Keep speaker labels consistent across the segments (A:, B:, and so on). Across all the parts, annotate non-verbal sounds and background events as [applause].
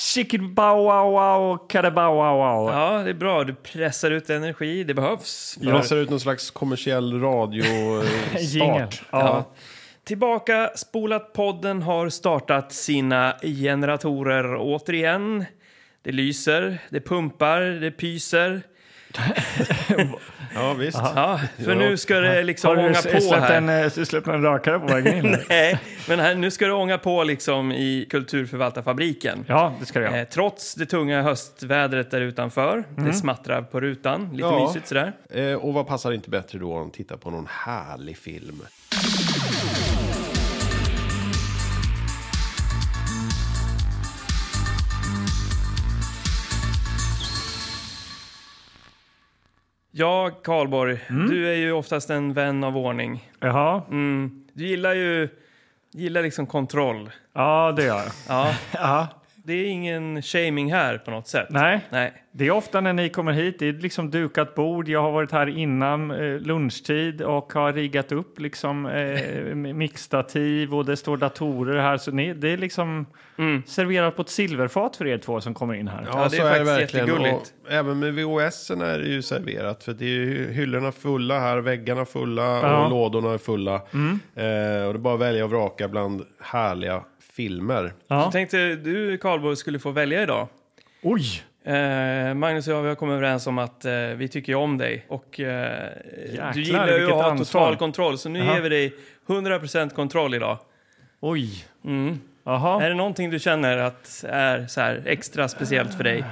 A: chicken bow wow wow, kadabow wow wow.
B: Ja, det är bra. Du pressar ut energi. Det behövs.
C: Jag ser ut någon slags
A: [laughs]
C: kommersiell
A: Jingle.
C: radiostart.
A: Ja.
B: Tillbaka, spolat podden har startat sina generatorer återigen. Det lyser, det pumpar, det pyser.
C: ja, visst.
B: Ja, för nu ska det liksom
A: Har du
B: ånga
A: s-
B: på
A: släppt
B: här.
A: en, eh, släppt en rakare på vägen in?
B: [laughs] Nej, men här, nu ska det ånga på liksom i kulturförvaltarfabriken.
A: Ja, Mm. det ska du göra.
B: Eh, trots det tunga höstvädret där utanför. Det smattrar på rutan, lite
C: Ja.
B: mysigt sådär.
C: Eh, och vad passar inte bättre då än att titta på någon härlig film?
B: Ja, Karlborg,
A: Mm.
B: du är ju oftast en vän av ordning.
A: Jaha.
B: Mm. Du gillar ju gillar liksom kontroll.
A: Ja, det gör jag.
B: Ja,
A: [laughs] Ja.
B: det är ingen shaming här på något sätt.
A: Nej,
B: Nej.
A: det är ofta när ni kommer hit. Det är liksom dukat bord. Jag har varit här innan eh, lunchtid och har riggat upp liksom
B: [laughs]
A: eh, mixtativ och det står datorer här. Så ni, det är liksom serverat på ett silverfat för er två som kommer in här.
B: Mm. Ja,
C: Alltså,
B: det är faktiskt jättegulligt.
C: Och även med VHS är det ju serverat. För det är ju hyllorna fulla här, väggarna fulla
A: Ja.
C: och lådorna är fulla. Eh, och det är bara att välja och vraka bland härliga filmer.
A: Ja.
B: Jag tänkte du, Karlborg, skulle få välja idag.
A: Oj!
B: Eh, Magnus och jag vi har kommit överens om att eh, vi tycker ju om dig. Och, eh, du gillar ju att
A: vilket
B: ha
A: ansvar.
B: total kontroll, så nu
A: Jaha.
B: ger vi dig 100% kontroll idag.
A: Oj!
B: Mm. Är
A: Jaha.
B: det någonting du känner att är så här extra speciellt för dig?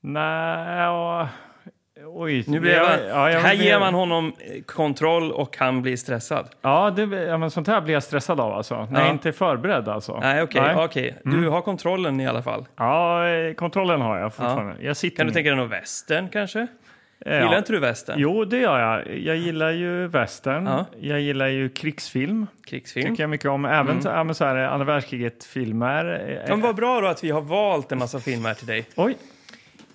A: Nej, ja. Oj.
B: Nu blir jag,
A: ja, jag
B: här
A: blir-
B: ger man honom eh, kontroll och han blir stressad.
A: Ja, det, ja, men sånt här blir jag stressad av alltså. När
B: Ja.
A: jag inte är förberedd alltså.
B: Nej, okej. okej.
A: Mm.
B: Du har kontrollen i alla fall.
A: Ja, eh, kontrollen har jag fortfarande. Jag sitter
B: Kan du
A: ner.
B: tänka dig någon western kanske?
A: Eh,
B: Gillar
A: Mm. ja.
B: inte du western?
A: Jo, det gör jag. Jag gillar ju västern.
B: Ja. Mm.
A: Jag gillar ju krigsfilm.
B: Krigsfilm?
A: Tycker jag mycket om. Även
B: Mm.
A: så, ja, men så här, eh, andra världskriget-filmer. Eh,
B: Men vad bra då att vi har valt en massa filmer till dig.
A: Oj!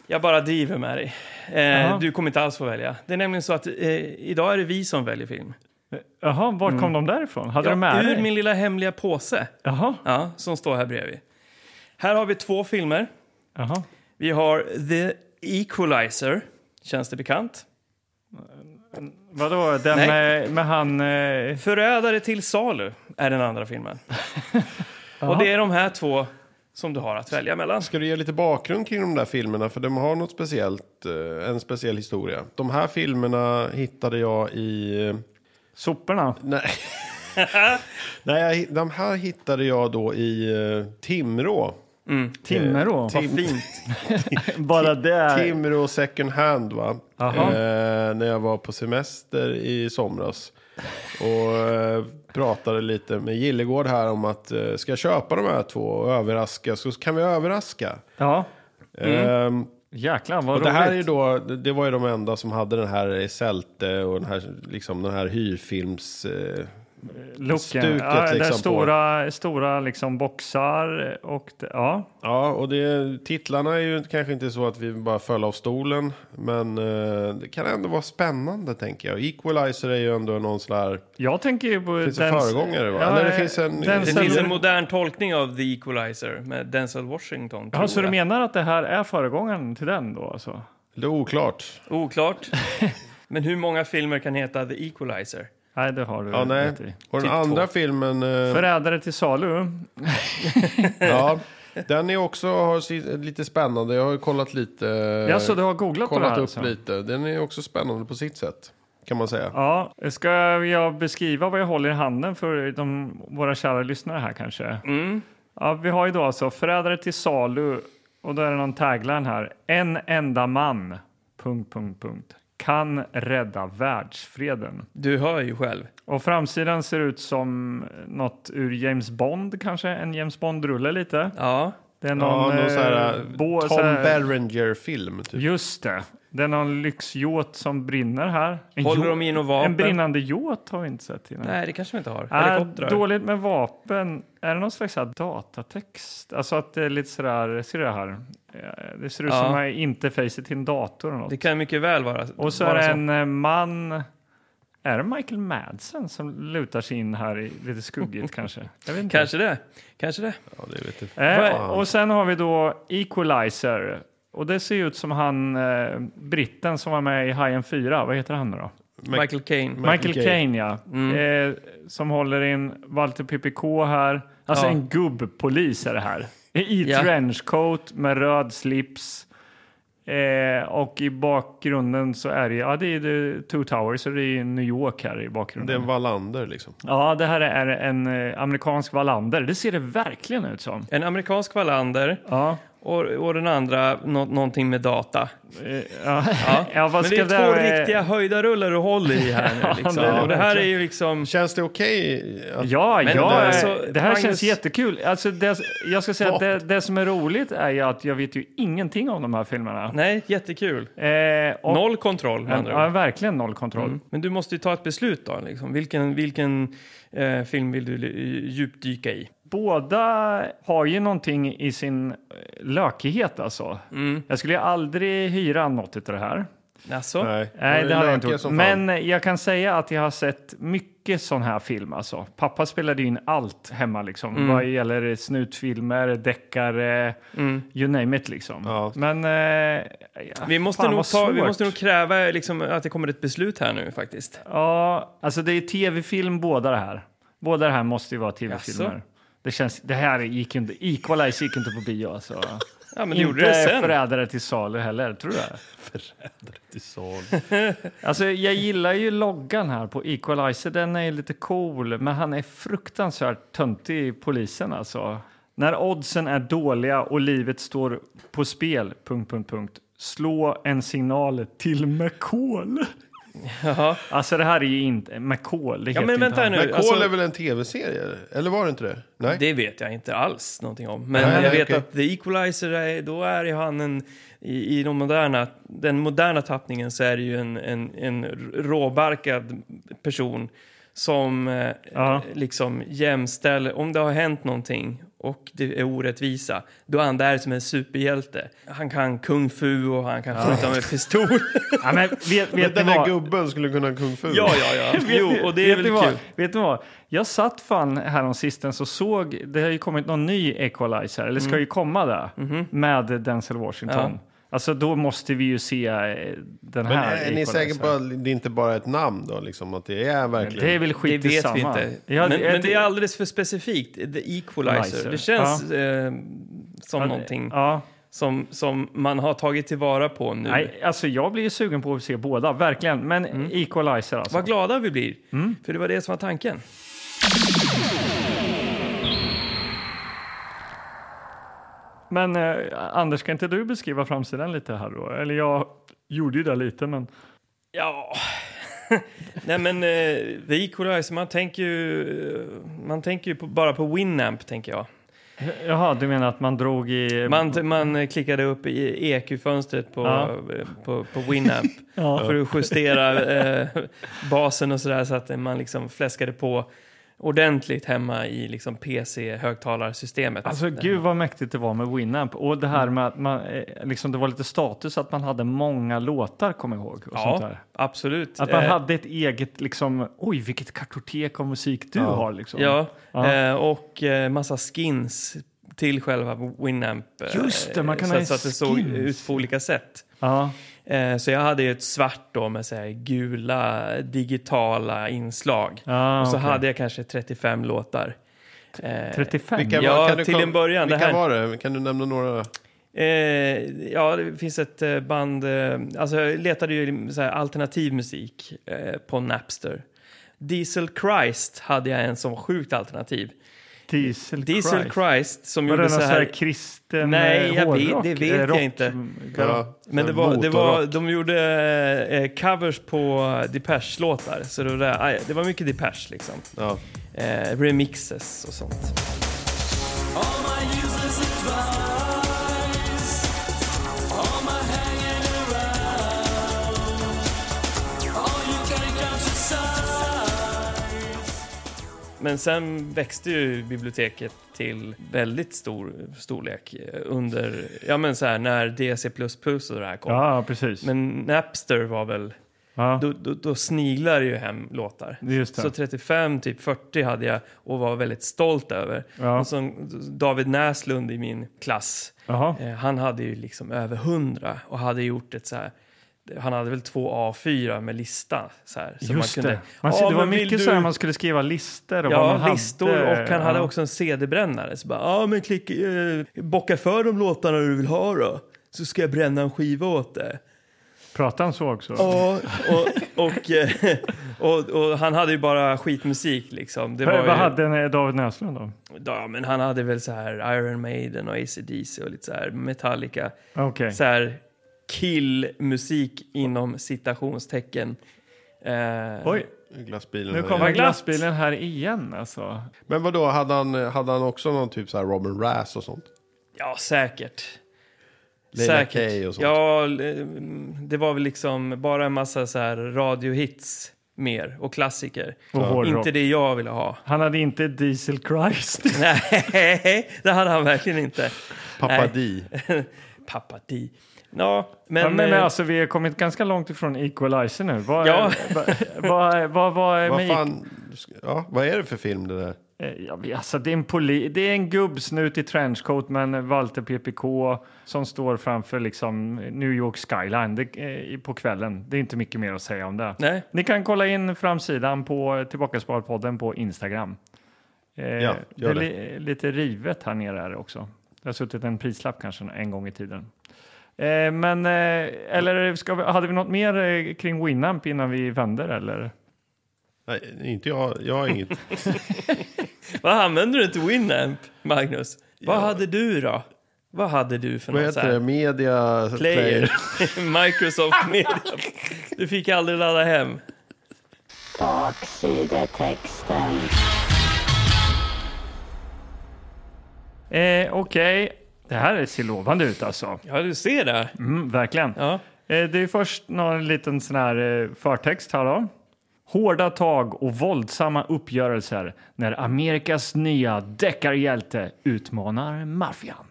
B: Jag bara driver med dig. Eh,
A: Jaha.
B: du kommer inte alls få välja. Det är nämligen så att eh, idag är det vi som väljer film.
A: Jaha, vart kom de därifrån? Hade
B: Mm. Ja,
A: de med
B: ur
A: dig?
B: min lilla hemliga påse
A: Jaha.
B: ja, som står här bredvid. Här har vi två filmer.
A: Jaha.
B: Vi har The Equalizer. Känns det bekant?
A: Vadå, den
B: Nej.
A: med, med han... Eh,
B: Förrädare till salu är den
A: [laughs]
B: andra filmen. Och det är de här två som du har att välja mellan.
C: Ska du ge lite bakgrund kring de där filmerna? För de har något speciellt, eh, en speciell historia. De här filmerna hittade jag i...
A: soporna?
C: Nej.
A: [laughs]
C: Nej, jag, hi- de här hittade jag då i eh, Timrå. Eh,
A: Timmerå?
C: Tim-
A: Bara det?
C: Timrå second hand va?
A: Jaha.
C: Eh, när jag var på semester i somras. Och eh, pratade lite med Gillegård här om att eh, ska jag köpa de här två och överraska så kan vi överraska.
A: Ja.
C: Ehm,
A: Jäklar, Mm. vad
C: och det här är ju
A: roligt.
C: då, det var ju de enda som hade den här Sälte och den här, liksom, den här hyrfilms... Eh,
A: Looken.
C: stuket
A: ja, det är
C: liksom på-
A: stora, stora liksom boxar och... Det, ja.
C: Ja, och det, titlarna är ju kanske inte så att vi bara föll av stolen. Men eh, det kan ändå vara spännande tänker jag. Equalizer är ju ändå någon sån här...
A: Jag tänker ju på...
C: Finns det föregångare, va? Eller
A: eh,
C: det finns en-
A: den
B: Det
C: Sen-
B: finns en modern tolkning av The Equalizer med Denzel Washington.
A: Ja, så
B: tror
A: du
B: jag.
A: menar att det här är föregångaren till den då alltså?
C: Det är oklart.
B: Oklart.
A: [laughs]
B: Men hur många filmer kan heta The Equalizer?
A: Nej, det har du
C: Ja, nej.
A: rätt i.
C: Och den
B: Typ
C: andra filmen... eh,
A: Förrädare till salu.
C: ja, den är också har si- lite spännande. Jag har ju kollat lite. eh,
A: Ja, så du har googlat på det
C: kollat
A: här
C: upp
A: alltså?
C: lite. Den är också spännande på sitt sätt. Kan man säga.
A: Ja, ska jag beskriva vad jag håller i handen för de, våra kära lyssnare här kanske?
B: Mm.
A: Ja, vi har ju då alltså Förrädare till salu och då är det någon tagline här. En enda man, punkt, punkt, punkt, kan rädda världsfreden.
B: Du hör ju själv.
A: Och framsidan ser ut som något ur James Bond kanske, en James Bond-rulle lite.
B: Ja.
A: Det är
C: Ja,
A: någon,
C: någon sån här
A: eh,
C: eh,
A: bå-
C: Tom
A: så här-
C: Berenger-film. Typ.
A: Just det. Det är någon lyxjåt som brinner här. En,
B: Håller
A: jå-
B: de i något
A: en
B: vapen?
A: brinnande jåt har vi inte sett innan.
B: Nej, det kanske vi inte har.
A: Äh,
B: Helikoptrar.
A: dåligt med vapen. Är det någon slags så här datatext? Alltså att det är lite sådär, ser du det här? Eh, Det ser ut
B: Ja.
A: som en interface till en dator eller något.
B: Det kan mycket väl vara
A: Och så är
B: vara
A: det
B: så.
A: en eh, man Är det Michael Madsen som lutar sig in här i lite
B: [laughs]
A: skuggigt kanske? Jag vet inte.
B: Kanske det. Kanske det.
C: Ja, det vet jag.
A: Eh,
C: Fan.
A: och sen har vi då Equalizer. Och det ser ju ut som han, eh, britten som var med i Hajen 4, vad heter han nu då?
C: Mac-
B: Michael Caine. Mm.
C: Michael
A: Michael
C: Caine.
A: Caine ja. Eh, som håller in Walter PPK här. Alltså
B: Ja.
A: en gubbpolis är det här. I
B: Ja.
A: trenchcoat med röd slips. Eh, och i bakgrunden så är det, ja det är The Two Towers, så det är New York här i
C: Det är
A: bakgrunden.
C: en Wallander liksom.
A: Ja, det här är en eh, amerikansk Wallander. Det ser det verkligen ut som.
B: En amerikansk Wallander
A: Ja,
B: och, och den andra nå, någonting med data.
A: eh, ja.
B: Ja.
A: [laughs] ja vad
B: Men det
A: ska
B: är två
A: eh,
B: riktiga höjdarrullar du håller i här
A: [laughs] Ja,
B: nu. Liksom.
A: det är det
B: och det här är ju liksom...
C: Känns det okej? att-
A: Ja,
B: Men
A: ja
B: det-
A: det,
B: alltså,
A: det här
B: Magnus-
A: känns jättekul. Alltså, det, jag ska säga att det, det som är roligt är ju att jag vet ju ingenting om de här filmerna.
B: Nej, jättekul.
A: Eh, och,
B: Noll kontroll med andra
A: Ja,
B: ord.
A: verkligen noll kontroll.
B: Mm. Men du måste ju ta ett beslut då. Liksom. Vilken, vilken eh, film vill du li- djupdyka i?
A: Båda har ju någonting i sin eh, lökighet alltså.
B: Mm.
A: Jag skulle ju aldrig hyra något av det här.
B: Alltså?
C: Nej,
A: Nej, det hade jag inte
C: lökiga
A: gjort.
C: som fan.
A: Men jag kan säga att jag har sett mycket sån här film. Alltså. Pappa spelade in allt hemma, liksom.
B: Mm.
A: vad gäller snutfilmer, deckare, you name it. Liksom.
C: Ja.
A: Men... Eh,
B: mm. Vi måste,
A: fan,
B: nog
A: vad
B: ta, vi
A: svårt.
B: måste nog kräva liksom, att det kommer ett beslut här nu faktiskt.
A: Ja, alltså det är tv-film båda det här. Båda det här måste ju vara tv-filmer.
B: Jaså?
A: Det, känns, det här gick ju inte... Equalize gick inte på bio. Alltså.
B: Ja, men det gjorde
A: Inte
B: det sen. [laughs]
A: Förrädare till salu heller, tror jag.
C: Till sal.
A: [laughs] Alltså, jag gillar ju loggan här på Equalizer. Den är ju lite cool, men han är fruktansvärt töntig i polisen. Alltså. När oddsen är dåliga och livet står på spel... Punkt, punkt, punkt. Slå en signal till McCall.
B: Jaha.
A: Alltså, det här är ju inte... McCall, det
B: Ja,
A: heter
B: men
A: inte
B: vänta
A: han.
B: nu.
C: Men Kol
B: alltså-
C: är väl en tv-serie? Eller var det inte det? Nej.
B: Det vet jag inte alls någonting om. Men
C: Nej,
B: jag
C: nej,
B: vet
C: okej.
B: att The Equalizer, är, då är ju han en... I, i de moderna, den moderna tappningen så är det ju en, en, en råbarkad person som eh,
A: Ja.
B: liksom jämställer, om det har hänt någonting och det är orättvisa, då är han där som en superhjälte. Han kan kung fu och han kan skjuta
A: [laughs]
B: med pistol.
A: Ja, men vet,
C: Men
A: vet ni
C: den där
A: vad?
C: gubben skulle kunna kung fu.
B: ja, ja,
A: [laughs]
B: ja.
A: Vet
B: Jo,
A: ni-
B: och det är
A: vet
B: väl
A: ni
B: kul.
A: vad? Vet ni vad? Jag satt fan häromsistens och såg, det har ju kommit någon ny Equalizer, eller ska
B: Mm.
A: ju komma där,
B: Mhm.
A: med Denzel Washington. Alltså då måste vi ju se eh, den
C: Men
A: här alltså.
C: är, är ni
A: Equalizer.
C: säkra på att det inte bara är ett namn då? Liksom, att det är verkligen...
A: Det är väl
B: Det
A: skit i
B: vet
A: samma.
B: vi inte.
A: Ja,
B: men,
A: det-
B: men det är alldeles för specifikt. eh, The Equalizer.
A: Nicer.
B: Det känns eh, som
A: ja,
B: någonting
A: Ja.
B: som, som man har tagit tillvara på nu. Mm.
A: Nej, alltså jag blir ju sugen på att se båda, verkligen. Men Equalizer alltså.
B: Vad glada vi blir,
A: Mm.
B: för det var det som var tanken.
A: Men eh, Anders, kan inte du beskriva framsidan lite här då? Eller jag gjorde ju det lite, men...
B: Ja... [laughs] Nej, men eh, The Equalizer, man tänker ju, eh, man tänker ju på, bara på Winamp, tänker jag.
A: Jaha, du menar att man drog i...
B: Man, man eh, klickade upp i EQ-fönstret på,
A: Ja.
B: eh, på, på Winamp
A: Ja.
B: för att justera eh, basen och sådär så att man liksom fläskade på ordentligt hemma i liksom PC-högtalarsystemet.
A: Alltså gud vad mäktigt det var med Winamp och det
B: Mm.
A: här med att man, eh, liksom, det var lite status att man hade många låtar kommer jag ihåg. Och sånt
B: ja,
A: där.
B: absolut.
A: Att man
B: Eh,
A: hade ett eget, liksom, oj vilket kartotek av musik du
C: Ja.
A: har liksom.
B: Ja,
A: Ja.
B: eh, och eh, massa skins till själva Winamp. eh,
A: Just det, man kan
B: så,
A: ha
B: att- så att det såg
A: skins.
B: ut på olika sätt.
A: Ja.
B: Eh, Så jag hade ju ett svart då med så här gula digitala inslag.
A: Ja,
B: och så
A: Ah, okej.
B: hade jag kanske 35 låtar. Eh,
A: 35?
C: Vilka
B: Ja,
C: var- kan du
B: till
C: kom-
B: en början, det
C: Vilka
B: här-
C: var det? Kan du nämna några?
B: eh, ja, det finns ett eh, band. Eh, alltså jag letade ju så här alternativ musik eh, på Napster. Diesel Christ hade jag en som sjukt alternativ.
A: Diesel,
B: Diesel Christ, som
A: Var det
B: gjorde
A: någon
B: så
A: sån här
B: här...
A: kristen
B: Nej,
A: eh,
B: jag vet-
A: hårdrock?
B: det vet
A: Eh,
B: jag
A: rock-
B: inte.
A: Ja.
B: Men det var, det var, de gjorde eh, covers på Depeche-låtar. Så det var, aj, det var mycket Depeche liksom.
C: Ja.
B: eh, remixes och sånt. Men sen växte ju biblioteket till väldigt stor storlek eh, under, ja men så här när DC++ och det här kom.
A: Ja, precis.
B: Men Napster var väl
A: Ja,
B: då, då, då sniglar det ju hem låtar.
A: just
B: Så
A: det.
B: 35, typ 40 hade jag och var väldigt stolt över.
A: Ja.
B: Och som David Näslund i min klass,
A: Jaha.
B: eh, han hade ju liksom över 100 och hade gjort ett så här han hade väl två A4 med lista. Så här, så
A: Just
B: man kunde,
A: det. Man ser,
B: "Ja,
A: det var
B: men vill
A: mycket så här man skulle skriva listor och vad
B: Ja,
A: man
B: listor
A: hade.
B: och han hade
A: Ja.
B: också en CD-brännare. Så bara, ja men klick, eh, bocka för de låtarna du vill ha då. Så ska jag bränna en skiva åt det.
A: Pratade han så också?
B: Ja, och, och, eh, och, och han hade ju bara skitmusik liksom. Det var
A: Vad
B: ju,
A: hade den här David Näslund då?
B: ja, men han hade väl så här Iron Maiden och AC/DC och lite så här Metallica.
A: Okej.
B: Så här killmusik inom citationstecken. Eh,
A: Oj,
C: Glassbilen.
A: nu
C: här
A: kommer
C: igen.
A: glassbilen här igen alltså.
C: Men vad då hade han, hade han också någon typ så här Robin Rass och sånt?
B: Ja, säkert.
C: Leila Kay och sånt.
B: Ja, eh, det var väl liksom bara en massa så här radiohits mer och klassiker.
A: Och hårdrock.
B: Inte det jag ville ha. [laughs]
A: Han hade inte Diesel Christ.
B: Nej, det hade han verkligen inte.
C: Pappa
B: Nej.
C: Di.
B: Pappa Di. Ja, men...
A: Ja, men
B: eh,
A: alltså, vi har kommit ganska långt ifrån Equalizer nu. Vad,
B: Ja.
A: vad, vad, vad, vad
B: [laughs]
A: är
C: Vad
A: med
C: fan? Ja, vad är det för film det där?
A: Eh, Ja, vi- alltså det, är en poli- det är en gubbsnut i trenchcoat med en Walter PPK som står framför liksom New York skyline det, eh, på kvällen. Det är inte mycket mer att säga om det.
B: Nej.
A: Ni kan kolla in framsidan på Tillbakasparpodden på Instagram. Eh,
C: Ja,
A: det
C: gör
A: är li- lite rivet här nere är det också. Det har suttit en prislapp kanske en gång i tiden. Eh, men, eh, eller ska vi, hade vi något mer eh, kring Winamp innan vi vänder eller?
C: Nej, inte jag. Jag har inget.
B: Vad använder du inte Winamp, Magnus? Vad hade du då? Vad hade du för
C: Vad
B: något så
C: heter det?
B: här?
C: Media player.
B: Player. [laughs] Microsoft
C: [laughs]
B: Media. Du fick aldrig ladda hem.
D: Baksidetexten.
A: Eh, Okej, det här ser lovande ut alltså.
B: Ja, du ser det.
A: Mm, verkligen.
B: Ja.
A: Eh, det är först någon liten sån här eh, förtext här då. Hårda tag och våldsamma uppgörelser när Amerikas nya deckarhjälte utmanar maffian.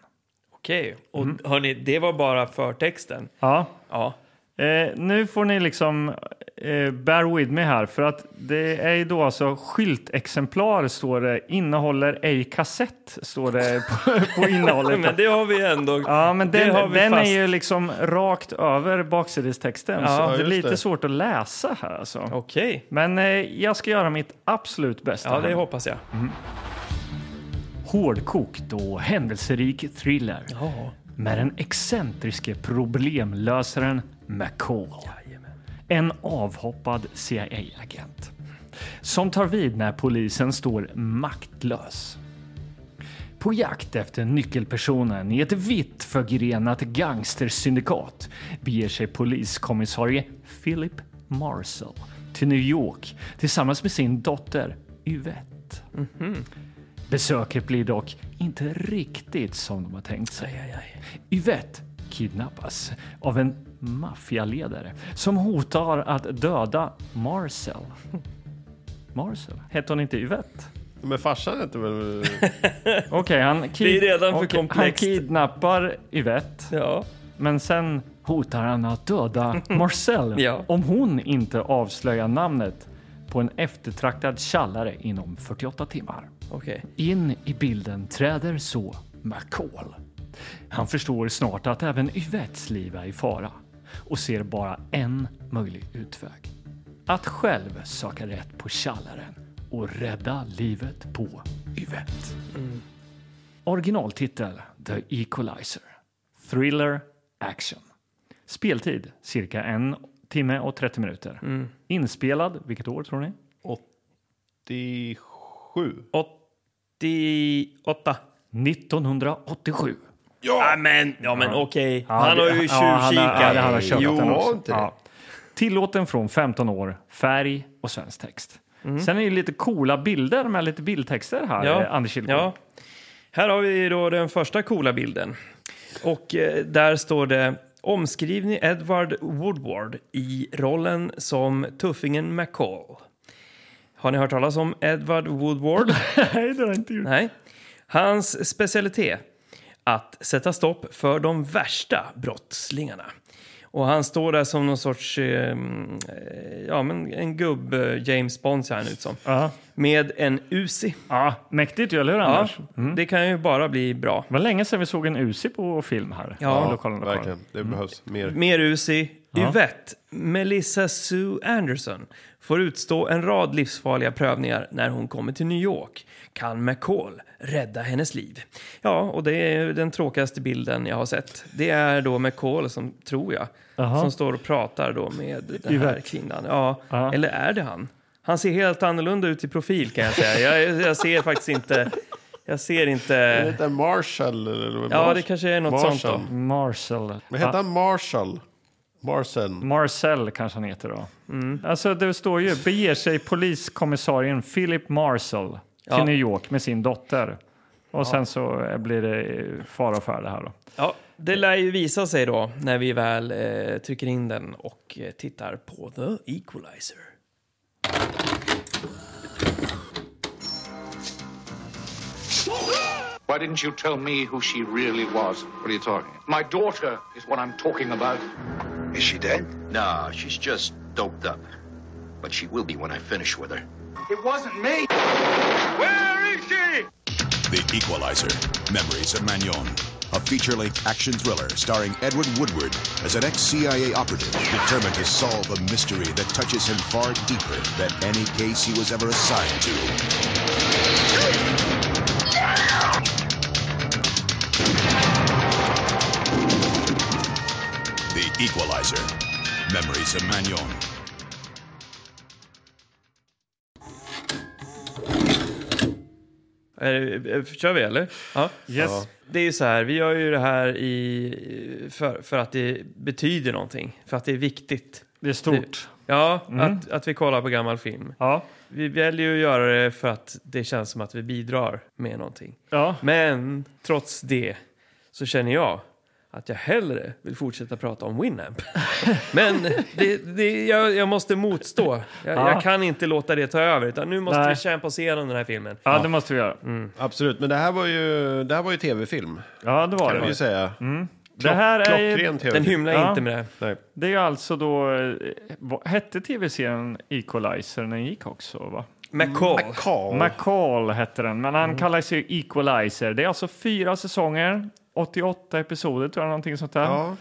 B: Okej. Och
C: Mm.
B: hörni, det var bara förtexten.
A: Ja,
B: Ja.
A: eh, nu får ni liksom eh, bear with me här för att det är ju då alltså skyltexemplar står det innehåller ej kassett står det på,
B: [laughs]
A: på innehållet.
B: Men det har vi ändå.
A: Ja, men
B: Det har
A: den,
B: vi
A: den är
B: fast.
A: ju liksom rakt över baksidestexten.
B: Ja,
A: så det är
C: just
A: lite
C: det.
A: svårt att läsa här alltså.
B: Okej.
A: Men eh, jag ska göra mitt absolut bästa.
B: Ja, det
A: här.
B: hoppas jag.
A: Hårdkokt och händelserik thriller
B: Ja.
A: med den excentriske problemlösaren McCall. En avhoppad CIA-agent som tar vid när polisen står maktlös. På jakt efter nyckelpersonen i ett vitt förgrenat gangstersyndikat beger sig poliskommissarie Philip Marcel till New York tillsammans med sin dotter Yvette. Besöket blir dock inte riktigt som de har tänkt sig.
B: Aj, aj, aj.
A: Yvette kidnappas av en maffialedare som hotar att döda Marcel. [laughs] Marcel? Hette hon inte Yvette?
C: Men farsan heter väl...
A: Okej, han, kid-
B: Det är redan för
A: okej, han
B: komplext.
A: kidnappar Yvette,
B: Ja.
A: men sen hotar han att
B: [laughs]
A: döda Marcel
B: Ja.
A: om hon inte avslöjar namnet på en eftertraktad tjallare inom 48 timmar.
B: Okej.
A: In i bilden träder så McCall. Han förstår snart att även Yvettes liv är i fara och ser bara en möjlig utväg. Att själv söka rätt på tjallaren och rädda livet på Yvette. Mm. Originaltitel The Equalizer. Thriller Action. Speltid cirka en timme och 30 minuter. Inspelad, vilket år tror ni?
C: 87.
B: 88.
A: 1987.
B: Ja, Ah, men, ja, men okej.
A: Ja,
B: Han har
A: det-
B: ju
A: ja, han har- ja, det- han har
B: tjuvkikat.
A: köpt
C: Jo,
A: den också.
C: var inte det?
A: Ja. Tillåten från 15 år, färg och svensk text. Sen är det ju lite coola bilder med lite bildtexter här,
B: Mm. Ja.
A: eh, Anders Kihlberg.
B: Ja. Här har vi då den första coola bilden. Och eh, där står det omskrivning Edward Woodward i rollen som tuffingen McCall. Har ni hört talas om
A: [laughs]
B: Edward Woodward?
A: [laughs] Nej, det har jag inte gjort.
B: Nej. Hans specialitet att sätta stopp för de värsta brottslingarna. Och han står där som någon sorts, eh, ja men en gubb, eh, James Bond ser han ut som.
A: Ja.
B: Med en Uzi.
A: Ja, Mm. mäktigt ju, eller hur
B: Ja,
A: Anders?
B: det kan ju bara bli bra.
A: Det var länge sedan vi såg en Uzi på film här.
B: Ja,
A: I lokalen, lokalen.
C: Verkligen, det behövs mer.
A: Mm.
B: Mer Uzi. Yvette, Melissa Sue Anderson, får utstå en rad livsfarliga prövningar när hon kommer till New York. Kan McCall rädda hennes liv? Ja, och det är ju den tråkigaste bilden jag har sett. Det är då McCall, som tror jag,
A: Jaha.
B: som står och pratar då med den här
A: Yvette.
B: kvinnan. Ja,
A: Ja.
B: eller är det han? Han ser helt annorlunda ut i profil kan jag säga. Jag, jag ser faktiskt inte... Jag ser
C: Är det
B: inte...
C: inte Marshall? Eller vad?
B: Ja, det kanske är något sånt då.
C: Marshall.
A: Marcel.
C: Vad heter han? Marshall?
A: Mm.
C: Marsen?
A: Marcel kanske han heter då.
B: Mm.
A: Alltså det står ju, beger sig poliskommissarien Philip Marcel till
B: Ja.
A: New York med sin dotter. Och sen så blir det eh, fara och färde här då.
B: Ja, det lär ju visa sig då när vi väl eh, trycker in den och eh, tittar på The Equalizer.
D: Why didn't you tell me who she really was?
E: What are you talking?
D: My daughter is what I'm talking about.
E: Is she dead? No, she's just doped up. But she will be when I finish with her.
D: It wasn't me. Where is she?
F: The Equalizer. Memories of Magnon. A feature length action thriller starring Edward Woodward as an ex CIA operative determined to solve a mystery that touches him far deeper than any case he was ever assigned to. The Equalizer. Memories of Magnon.
B: Eh, eh, kör vi eller? Ja.
A: Yes.
B: Det är ju så här, vi gör ju det här i, för, för att det betyder någonting, för att det är viktigt.
A: Det är stort.
B: Ja, att, att vi kollar på gammal film.
A: Ja.
B: Vi väljer ju att göra det för att det känns som att vi bidrar med någonting.
A: Ja.
B: Men trots det så känner jag att jag hellre vill fortsätta prata
A: [laughs]
B: om Winamp. Men det, det, jag, jag måste motstå. Jag,
A: Ja.
B: jag kan inte låta det ta över, utan nu måste
A: Nej.
B: vi kämpa oss igenom den här filmen.
A: ja, det måste vi göra.
B: Mm.
C: Absolut, men det här var ju, det här var ju tv-film.
A: Ja, det var
C: Kan vi ju
A: det. Mm.
C: säga.
A: Det här är ju,
C: Klockren
B: Den
C: tv-film.
B: hymlar
A: Ja.
B: inte med det.
C: Nej.
A: det är ju alltså då, eh, vad- hette tv-serien Equalizer när den gick också va?
B: McCall.
C: Carl.
A: McCall hette den, men han kallas ju Equalizer. Det är alltså fyra säsonger, 88 episoder tror jag, någonting sånt där.
C: Ja.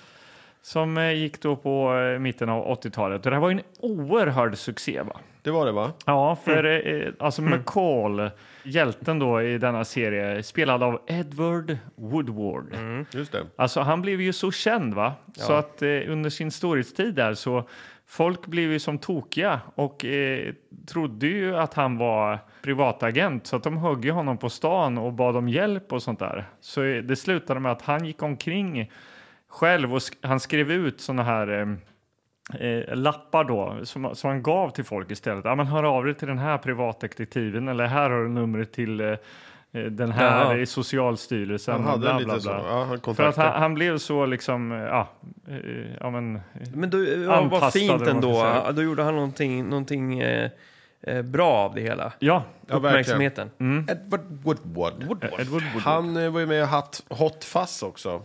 A: Som eh, gick då på eh, mitten av 80-talet. Och det här var ju en oerhörd succé va?
C: Det var det va?
A: Ja, för eh, alltså McCall, hjälten då i denna serie, spelad av Edward Woodward.
C: Just det.
A: Alltså han blev ju så känd va? Så att eh, under sin storhetstid där så folk blev ju som tokiga och eh, trodde ju att han var privatagent så att de högg ju honom på stan och bad om hjälp och sånt där. Så eh, det slutade med att han gick omkring själv och sk- han skrev ut såna här eh, eh, lappar då som, som han gav till folk istället. Ja, men hör av dig till den här privatdetektiven eller här har du numret till eh, eh, den här
B: Ja.
A: i Socialstyrelsen.
C: Han hade
A: Mm, bla,
C: lite
A: bla,
C: så.
A: bla.
C: Ja, han
A: För att
C: kontaktade.
A: han, han blev så liksom, eh, ja, eh, ja men, eh,
B: Men du, ja, vad
A: Anpassad,
B: fint
A: eller vad man
B: ändå.
A: ska säga.
B: Ja, Då gjorde han någonting, någonting eh, eh, bra av det hela.
A: ja, Mm.
C: Ja, verkligen.
B: Uppmärksamheten.
C: Edward Woodward.
A: Edward Woodward.
C: Han eh, var ju med i Hot, hot Fuzz också.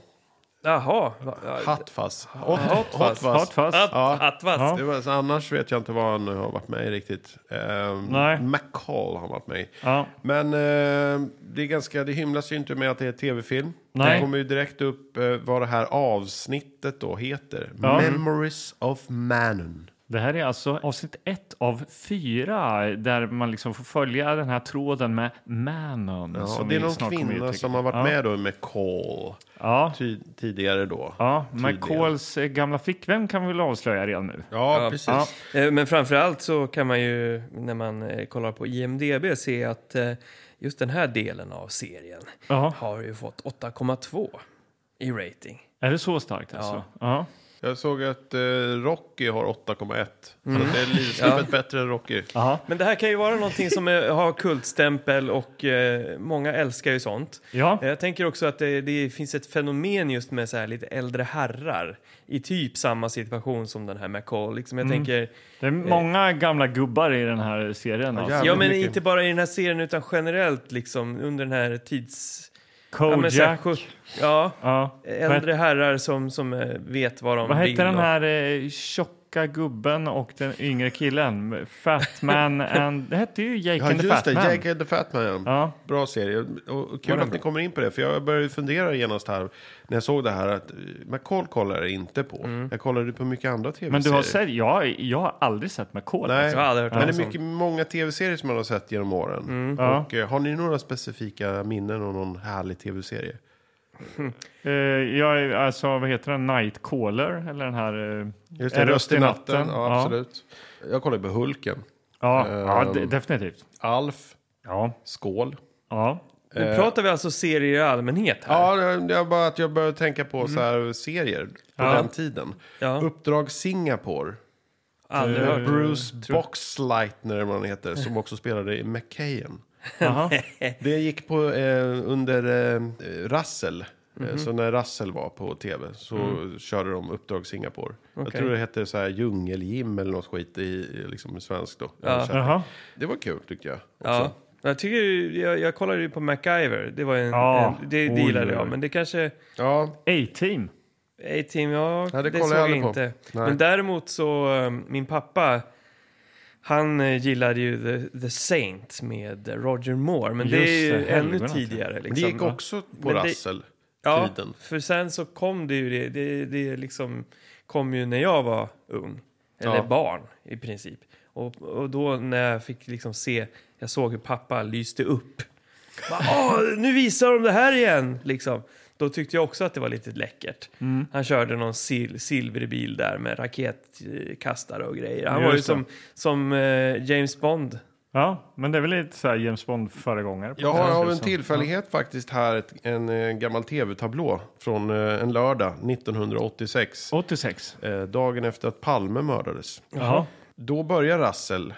B: Jaha. Va- ja,
C: Hot Fuzz. Hot,
B: Hot Fuzz.
C: Hot Fuzz.
A: Hot fast.
B: Att,
C: Ja.
B: att, vad?
A: Ja.
C: Det var, så annars vet jag inte vad han har varit med i riktigt. Ehm,
A: Nej.
C: McCall har han varit med i.
A: Ja.
C: Men eh, det, är ganska, det hymlas ju inte med att det är tv-film.
A: Nej.
C: Det kommer ju direkt upp eh, vad det här avsnittet då heter.
A: Ja.
C: Memories of Manon.
A: Det här är alltså avsnitt ett av fyra där man liksom får följa den här tråden med mannen.
C: Ja,
A: som
C: det är
A: vi
C: någon
A: snart kommer
C: kvinna
A: uttrycka.
C: som har varit
A: ja.
C: med då i McCall
A: Ja,
C: ty- tidigare då.
A: ja.
C: Tydligen.
A: McCalls eh, gamla flickvän kan vi väl avslöja redan nu.
C: Ja, precis.
A: Ja.
B: Eh, Men framförallt så kan man ju när man eh, kollar på IMDB se att eh, just den här delen av serien
A: Ja.
B: har ju fått 8,2 i rating.
A: Är det så starkt alltså? Ja.
C: Jag såg att eh, Rocky har 8,1.
A: Mm.
C: Så det är li- snäppet bättre än Rocky.
A: Aha.
B: Men det här kan ju vara någonting som eh, har kultstämpel och eh, många älskar ju sånt.
A: Ja.
B: Eh, Jag tänker också att det, det finns ett fenomen just med så här lite äldre herrar i typ samma situation som den här McCall. Liksom jag tänker,
A: Det är många gamla gubbar i den här serien. Alltså.
C: Eh. jävlar.
B: ja
C: Jävligt
B: men
C: mycket.
B: inte bara i den här serien utan generellt liksom under den här tids... Ja, men så här
A: Kojak.
B: sjut- ja,
A: Ja.
B: äldre herrar som, som eh, vet vad de
A: Vad
B: vill.
A: hette den
B: och-
A: här eh, tjocka gubben och den yngre killen?
C: [laughs]
A: Fatman and... Det hette ju Jake
C: Ja,
A: and the
C: just det.
A: Fatman.
C: Jack and the Fatman. Ja.
A: Ja.
C: Bra serie. Och och
A: Var
C: kul
A: den
C: att ni
A: bra?
C: kommer in på det, för jag började fundera genast här när jag såg det här att eh, McCall kollar jag inte på. Jag kollade på mycket andra tv-serier.
A: Men du har sett... Jag, jag har aldrig sett McCall.
C: Nej,
A: alltså.
B: Jag har aldrig hört
C: men det
B: talas
C: är
B: om.
C: mycket, många tv-serier som man har sett genom åren.
A: Ja.
C: Och, eh, har ni några specifika minnen av någon härlig tv-serie?
A: Eh, jag är, alltså, vad heter den? Nightcaller? Eller den här... Uh,
C: Just det, Eh, Röst i natten. Ja, absolut. Jag kollade på Hulken.
A: Ja, ja,
C: Ehm.
A: de- definitivt.
C: Alf.
A: Ja,
C: Skål. [laughs]
A: ja.
B: Nu pratar vi alltså serier i allmänhet här.
C: Ja, det det var bara att jag började tänka på så här serier på den tiden.
B: Ja.
C: Uppdrag Singapore.
B: Aldrig
C: Det var
A: Eh,
B: hört.
C: Eh, Bruce Boxleitner eller vad han
B: [laughs]
C: heter, som också spelade i McKayen.
A: Aha.
C: Det gick på, eh, under eh, Russell.
B: Mhm.
C: Eh, Så när Russell var på tv så körde de Uppdrag Singapore. Jag
B: Mm. Okej.
C: tror det hette så här Djungeljim eller något skit i, i liksom svenskt då.
A: Jaha.
C: Det var kul tyckte jag.
B: Ja.
C: Också.
B: Jag, tycker, ju- jag, jag kollade ju på MacGyver. Det, var ju en,
A: Ja.
B: en, det, det
A: Oj,
B: gillade
A: oj,
B: jag,
A: oj.
B: men det kanske...
C: Ja.
A: A-Team.
B: A-Team, ja,
C: Ja,
B: det,
C: det
B: det
C: kollar
B: såg
C: jag
B: jag
C: aldrig på.
B: inte.
C: Nej.
B: Men däremot så, eh, min pappa, han eh, gillade ju The, The Saint med Roger Moore. Men det
A: Just
B: är
A: det,
B: ju ännu
A: helvete.
B: tidigare.
C: det
B: Liksom.
C: gick också på
B: Men det-
C: Russell.
B: ja,
C: tiden.
B: för sen så kom det ju det, det, det liksom kom ju när jag var ung. Eller
C: Ja.
B: barn i princip. Och, och då när jag fick liksom se, jag såg hur pappa lyste upp. Bara, Åh, nu visar de det här igen! Liksom. Då tyckte jag också att det var lite läckert. Han körde någon sil silverbil där med raketkastare och grejer. Han var ju
A: Just det.
B: som, som eh, James Bond.
A: Ja, men det är väl lite så här James Bond-föregångare. på
C: Jag
A: något
C: har
A: sätt,
C: av en
A: så.
C: tillfällighet faktiskt här ett, en eh, gammal tv-tablå från eh, en lördag 1986.
A: 86.
C: Eh, dagen efter att Palme mördades.
A: Jaha.
C: Då börjar Rassel.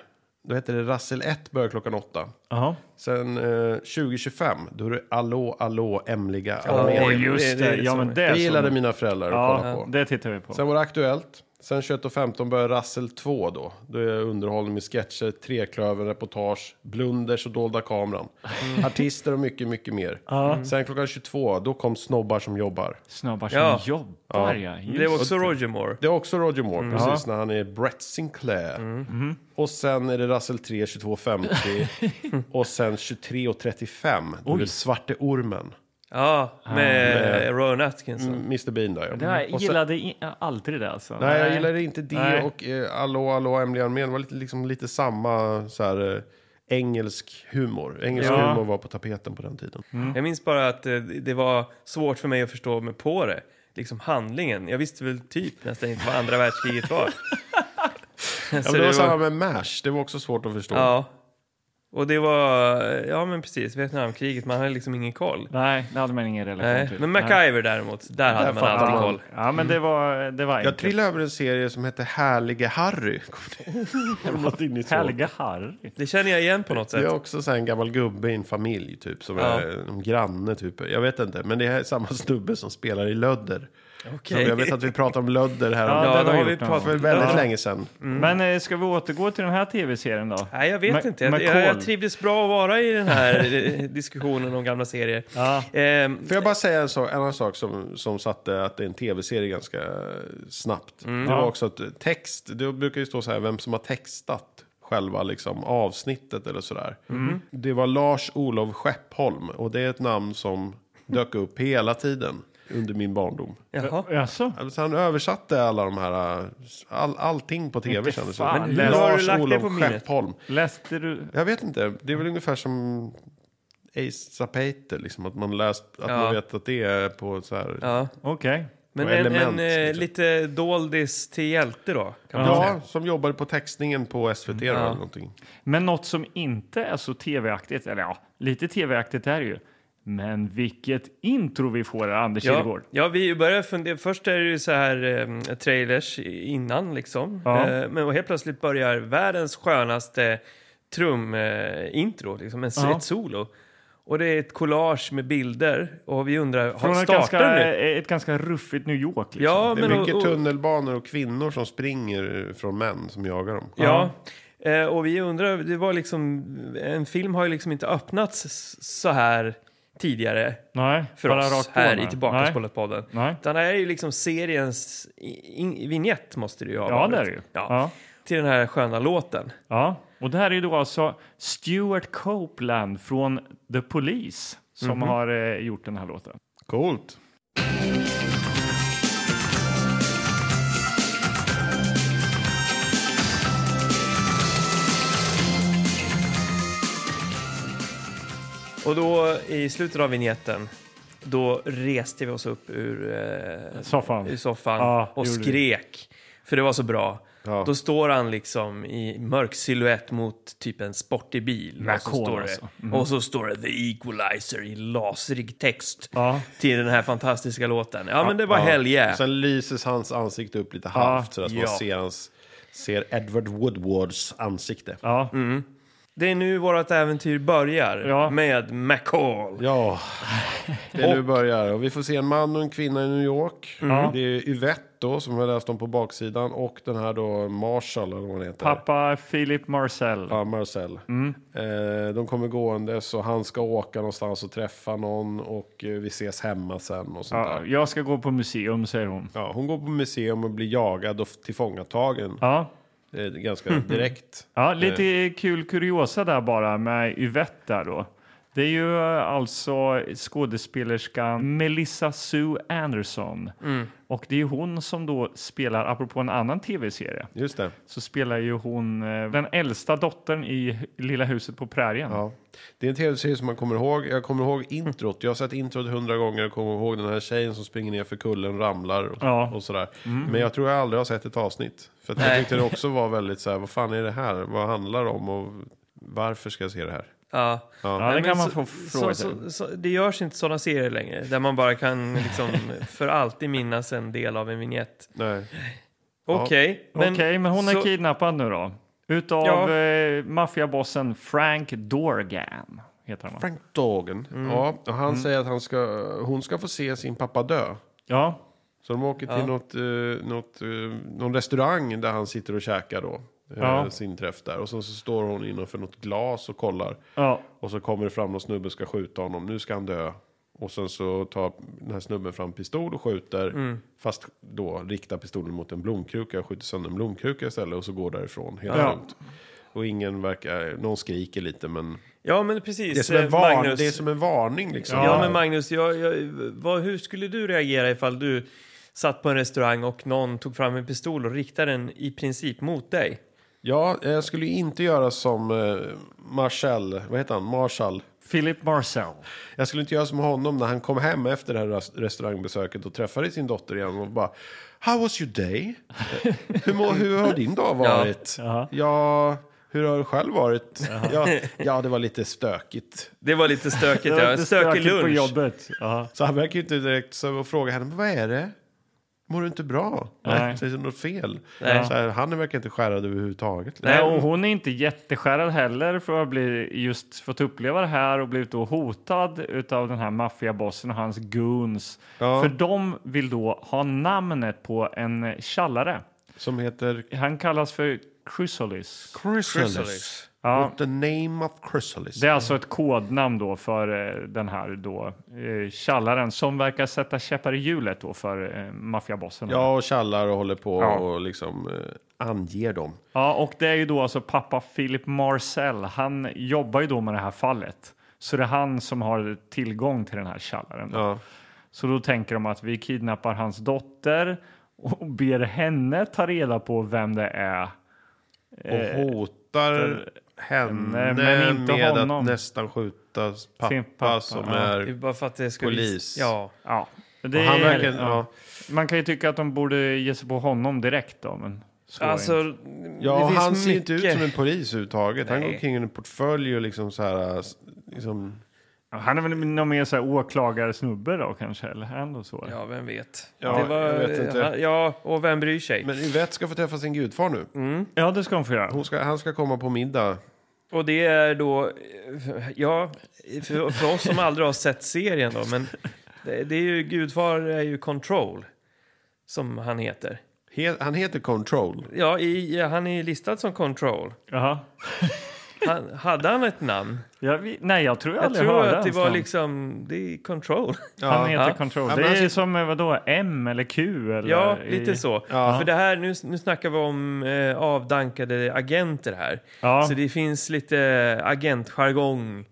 C: Då heter det Rassel 1 börjar klockan 8.
A: Jaha.
C: Sen eh, 2025, då är det Allå, allå, Emliga
B: det-
C: armén.
A: Åh,
B: det- det-
A: just
B: det är
A: det. Ja,
B: som-
A: men det är
C: Det
A: så.
C: gillade mina föräldrar att kolla
A: Ja,
C: på.
A: det tittar vi på.
C: Sen var det Aktuellt. Sen 21.15 börjar Rassel 2 då. Då är det underhållning med sketcher, treklöver, reportage, blunders och dolda kameran.
B: Mm.
C: Artister och mycket, mycket mer. Sen klockan 22, då kom Snobbar som jobbar.
A: Snabbar som
B: Ja.
A: jobbar, ja. Just.
B: Det var också Roger Moore.
C: Det är också Roger Moore, precis när han är Brett Sinclair. Och sen är det Russell 3, 22.50 och sen 23.35, då är det Svarte Ormen.
B: Ja, med Rowan Atkinson.
C: Mr Bean där
A: Det
C: ja. Mm.
A: här,
C: Och
A: jag
C: sen-
A: gillade i- aldrig det alltså.
C: Nej, jag gillade inte det
A: Nej.
C: och eh, Allå, allå, Emily Armén. Det var lite, liksom, lite samma så här, eh, engelsk humor. Engelsk
A: Ja.
C: humor var på tapeten på den tiden.
B: Jag minns bara att eh, det var svårt för mig att förstå mig på det. Liksom handlingen. Jag visste väl typ nästan inte vad andra världskriget var.
C: [laughs] Ja,
B: Så
C: men det var samma med MASH, det var också svårt att förstå.
B: Ja. Och det var, eh, ja men precis, Vietnamkriget, man hade liksom ingen koll.
A: Nej, det hade man ingen relation
B: Nej.
A: till.
B: Men
A: Nej.
B: MacGyver däremot, där hade man
C: fattar
B: alltid
C: man.
B: koll.
A: Ja, men det var, det var
C: Jag
A: enkelt.
C: trillade över en serie som hette Härlige Harry. Kommer ni- Kommer något in i så?
A: Helga Harry.
B: Det känner jag igen på något
C: Det
B: sätt.
C: är också så här en gammal gubbe i en familj typ som
B: Ja.
C: är en granne typ. Jag vet inte, men det är samma [laughs] snubbe som spelar i Lödder.
B: Okej.
C: Så Jag vet att vi pratade om Lödder här
A: Ja,
B: [laughs]
C: om,
B: Ja,
A: den
B: då
A: har
B: har
A: jag
B: vi
A: gjort någon
B: pratat
C: för
B: om.
C: väldigt
B: Ja. Mm.
C: länge sedan.
A: Men eh, ska vi återgå till den här tv-serien då?
B: Nej, jag vet
A: Ma-
B: inte. Jag, jag,
A: McCall.
B: jag trivdes bra att vara i den här [laughs] eh, diskussionen om gamla serier.
A: Ja.
B: Ehm,
C: Får jag bara säga en, sak, en annan sak som, som satte att det är en tv-serie ganska eh, snabbt.
B: Mm.
C: Det var
A: Ja.
C: också att text, det brukar ju stå så här vem som har textat själva liksom avsnittet eller sådär.
B: Mm.
C: Det var Lars-Olov Skeppholm och det är ett namn som dök upp hela tiden under min barndom.
B: jaha.
A: Jaså?
C: Alltså han översatte alla de här, äh, all, allting på tv
A: Inte
C: kändes det
A: fan.
C: som.
A: Men hur
B: har du lagt det
C: Olof
B: på minnet?
C: Skeppholm.
A: Läste du?
C: Jag vet inte, det är väl ungefär som Ace Zapate, liksom att man läst, att
B: Ja.
C: man vet att det är på så här. Ja,
B: Ja.
A: Okej.
B: Men
C: Och
B: en, en
C: element,
B: eh,
C: liksom.
B: lite doldis till hjälte då, kan man säga.
C: som jobbade på textningen på SVT då, eller någonting.
A: Men något som inte är så tv-aktigt, eller ja, lite tv-aktigt är det ju. Men vilket intro vi får, Anders
B: Ja,
A: Kihlgård.
B: ja, vi börjar fundera. Först är det ju så här eh, trailers innan liksom.
A: Ja.
B: Eh, men och helt plötsligt börjar världens skönaste trumintro, eh, intro, liksom. en,
A: Ja.
B: ett solo. Och det är ett collage med bilder och vi undrar, har
A: Från ett
B: startar den
A: ganska,
B: nu?
A: ett ganska ruffigt New York. Liksom.
B: Ja,
C: Det är
B: men och,
C: mycket
B: och,
C: tunnelbanor och kvinnor som springer från män som jagar dem.
B: Ja. Eh, och vi undrar, det var liksom, en film har ju liksom inte öppnats s- så här tidigare
A: Nej,
B: för
A: bara
B: oss
A: rakt på,
B: här
A: nej.
B: i Tillbakaspolat podden.
A: Nej.
B: Utan det här är ju liksom seriens i- in- vignett måste det ju ha
A: Ja,
B: varit.
A: det är det ju.
B: Ja.
A: Ja.
B: Till den här sköna låten.
A: Ja, och det här är ju då alltså Stuart Copeland från The Police som
B: Mhm.
A: har eh, gjort den här låten.
C: Coolt.
B: Och då i slutet av vignetten då reste vi oss upp ur, eh,
A: Soffan.
B: ur soffan
A: Ja,
B: och
A: det gjorde vi.
B: skrek. För det var så bra.
C: Ja.
B: Då står han liksom i mörk silhuett mot typ en sportig bil. och, så
A: Macron,
B: står det,
A: alltså.
B: och så står det The Equalizer i lasrig text
A: Ja.
B: till den här fantastiska låten. Ja, men det var hell yeah.
C: Sen lyses hans ansikte upp lite halvt så att
B: ja.
C: man ser, hans, ser Edward Woodwards ansikte.
A: Ja,
B: Mm. Det är nu vårt äventyr börjar
A: Ja.
B: med McCall.
C: Ja, [laughs] det är nu börjar. Och vi får se en man och en kvinna i New York. Det är Yvette då, som vi har läst om på baksidan. Och den här då Marshall, eller vad hon heter.
A: pappa Philip Marcel.
C: Ja, Marcel. Eh, de kommer gående så han ska åka någonstans och träffa någon och eh, vi ses hemma sen och sånt
A: Ja,
C: där.
A: jag ska gå på museum, säger hon.
C: Ja, hon går på museum och blir jagad och f- tillfångatagen
A: Ja,
C: eh, ganska direkt.
A: ja
B: Eh.
A: lite kul kuriosa där bara med Yvette där då. Det är ju eh, alltså skådespelerskan Melissa Sue Anderson.
B: Mm.
A: Och det är ju hon som då spelar, apropå en annan tv-serie,
C: Just det.
A: så spelar ju hon eh, den äldsta dottern i Lilla huset på prärien.
C: Ja. Det är en tv-serie som man kommer ihåg. Jag kommer ihåg introt. Jag har sett introt hundra gånger och kommer ihåg den här tjejen som springer ner för kullen och ramlar och,
A: Ja. Mm.
C: och sådär. Men jag tror jag aldrig har sett ett avsnitt. För att
B: Nej.
C: jag tyckte det
A: [laughs]
C: också var väldigt så här, vad fan är det här? Vad handlar det om och varför ska jag se det här?
B: Ja.
A: Ja, det
B: Nej,
A: kan
B: men
A: man få
B: så,
A: fråga
B: så,
A: sig.
B: så, så, Det görs inte sådana serier längre, där man bara
A: [laughs]
B: kan liksom för alltid minnas en del av en vignett.
C: Nej.
B: Okej,
A: Okej, men hon är
B: så-
A: kidnappad nu då. Utav
B: Ja.
A: eh, maffiabossen Frank Dorgan. Heter han va?
C: Frank Dagen.
A: Mm.
C: Ja, och han säger att han ska, hon ska få se sin pappa dö.
A: Ja,
C: Så de åker till något, eh, något, eh, någon restaurang där han sitter och käkar då. eh,
A: Ja.
C: Sin träff där. Och sen så står hon innanför något glas och kollar.
A: ja,
C: Och så kommer det fram någon snubbe och ska skjuta honom. Nu ska han dö. Och sen så tar den här snubben fram pistol och skjuter.
B: Mm.
C: Fast då riktar pistolen mot en blomkruka. och skjuter sönder en blomkruka istället och så går därifrån helt
A: Ja.
C: lugnt. Och ingen verkar, någon skriker lite men.
B: Ja, men precis.
C: Det är som en,
B: eh,
C: var,
B: Magnus.
C: det är som en varning liksom.
B: ja. men Magnus, jag, jag, vad, hur skulle du reagera ifall du satt på en restaurang och någon tog fram en pistol och riktade den i princip mot dig?
C: Ja, jag skulle ju inte göra som eh, Marshall, vad heter han, Marshall.
A: Philip Marcel.
C: Jag skulle inte göra som honom när han kom hem efter det här ras- restaurangbesöket och träffade sin dotter igen och bara How was your day? Eh, hur, mår- hur har din dag varit? Ja, hur har du själv varit? Ja, ja, det var lite stökigt.
B: Det var lite
A: [laughs]
B: stökigt,
A: Det var
B: ja.
A: lite
B: Stökig
A: stökigt på
B: lunch.
A: jobbet. Ja.
C: Så han verkar ju inte direkt så och fråga henne, "Men vad är det? Mår du inte bra?
A: Nej.
C: Så är det något fel?
B: Nej.
C: Så här, han verkar inte skärrad överhuvudtaget.
A: Nej, och hon är inte jätteskärrad heller för att bli just fått uppleva det här och blivit då hotad utav den här maffiabossen och hans goons.
C: Ja.
A: För de vill då ha namnet på en tjallare.
C: Som heter
A: Han kallas för Chrysalis.
C: Chrysalis.
B: Chrysalis.
A: Ja.
C: With the name of Chrysalis.
A: Det är alltså ett kodnamn då för eh, den här då, eh, tjallaren som verkar sätta käppar i hjulet då för eh, maffiabossen.
C: Ja, och tjallar och håller på
A: Ja.
C: och liksom eh, anger dem.
A: Ja, och det är ju då alltså pappa Philip Marcel. Han jobbar ju då med det här fallet. Så det är han som har tillgång till den här tjallaren. då.
C: Ja.
A: Så då tänker de att vi kidnappar hans dotter och ber henne ta reda på vem det är.
C: Och hotar henne
A: henne, Eh, men inte
C: med
A: honom.
C: att nästan skjuta pappa,
A: Sin pappa,
C: som
A: ja.
B: Det är
C: är...
B: bara för att det ska
C: Polis.
B: vis- Ja.
A: Ja, det
C: Och han
A: är-
C: verkar,
A: ja.
C: ja.
A: Man kan ju tycka att de borde ge sig på honom direkt då, men så är det inte.
B: Alltså,
C: Ja,
B: det finns
C: han ser inte ut
B: mycket-
C: som en polis överhuvudtaget. Han går
B: Nej.
C: omkring i en portfölj och liksom så här... Liksom,
A: Han är väl någon mer så här åklagarsnubbe då kanske, eller är han då så?
B: Ja, vem vet.
C: Ja, jag vet inte.
B: Ja, och vem bryr sig?
C: men Yvette ska få träffa sin gudfar nu.
B: Mm.
A: Ja, det ska hon få göra.
C: Hon ska, han ska komma på middag.
B: Och det är då, eh, ja, för, för oss som aldrig har sett serien då, men det, det är ju, Gudfar är ju Control, som han heter.
C: He, han heter Control.
B: Ja, i, ja, han är listad som Control.
A: Jaha.
B: Han, hade han ett namn?
A: Jag, vi- nej, jag tror jag,
B: Jag
A: aldrig
B: tror
A: hörde
B: att det
A: hans
B: var
A: namn.
B: liksom, det är control.
A: Han heter
B: Ja.
A: Control.
C: Ja,
A: det är
C: men alltså-
A: som eh, vadå, M eller Q? Eller
B: Ja,
A: i-
B: lite så. För det här, nu, nu snackar vi om eh, avdankade agenter här.
A: Ja.
B: Så det finns lite agentjargong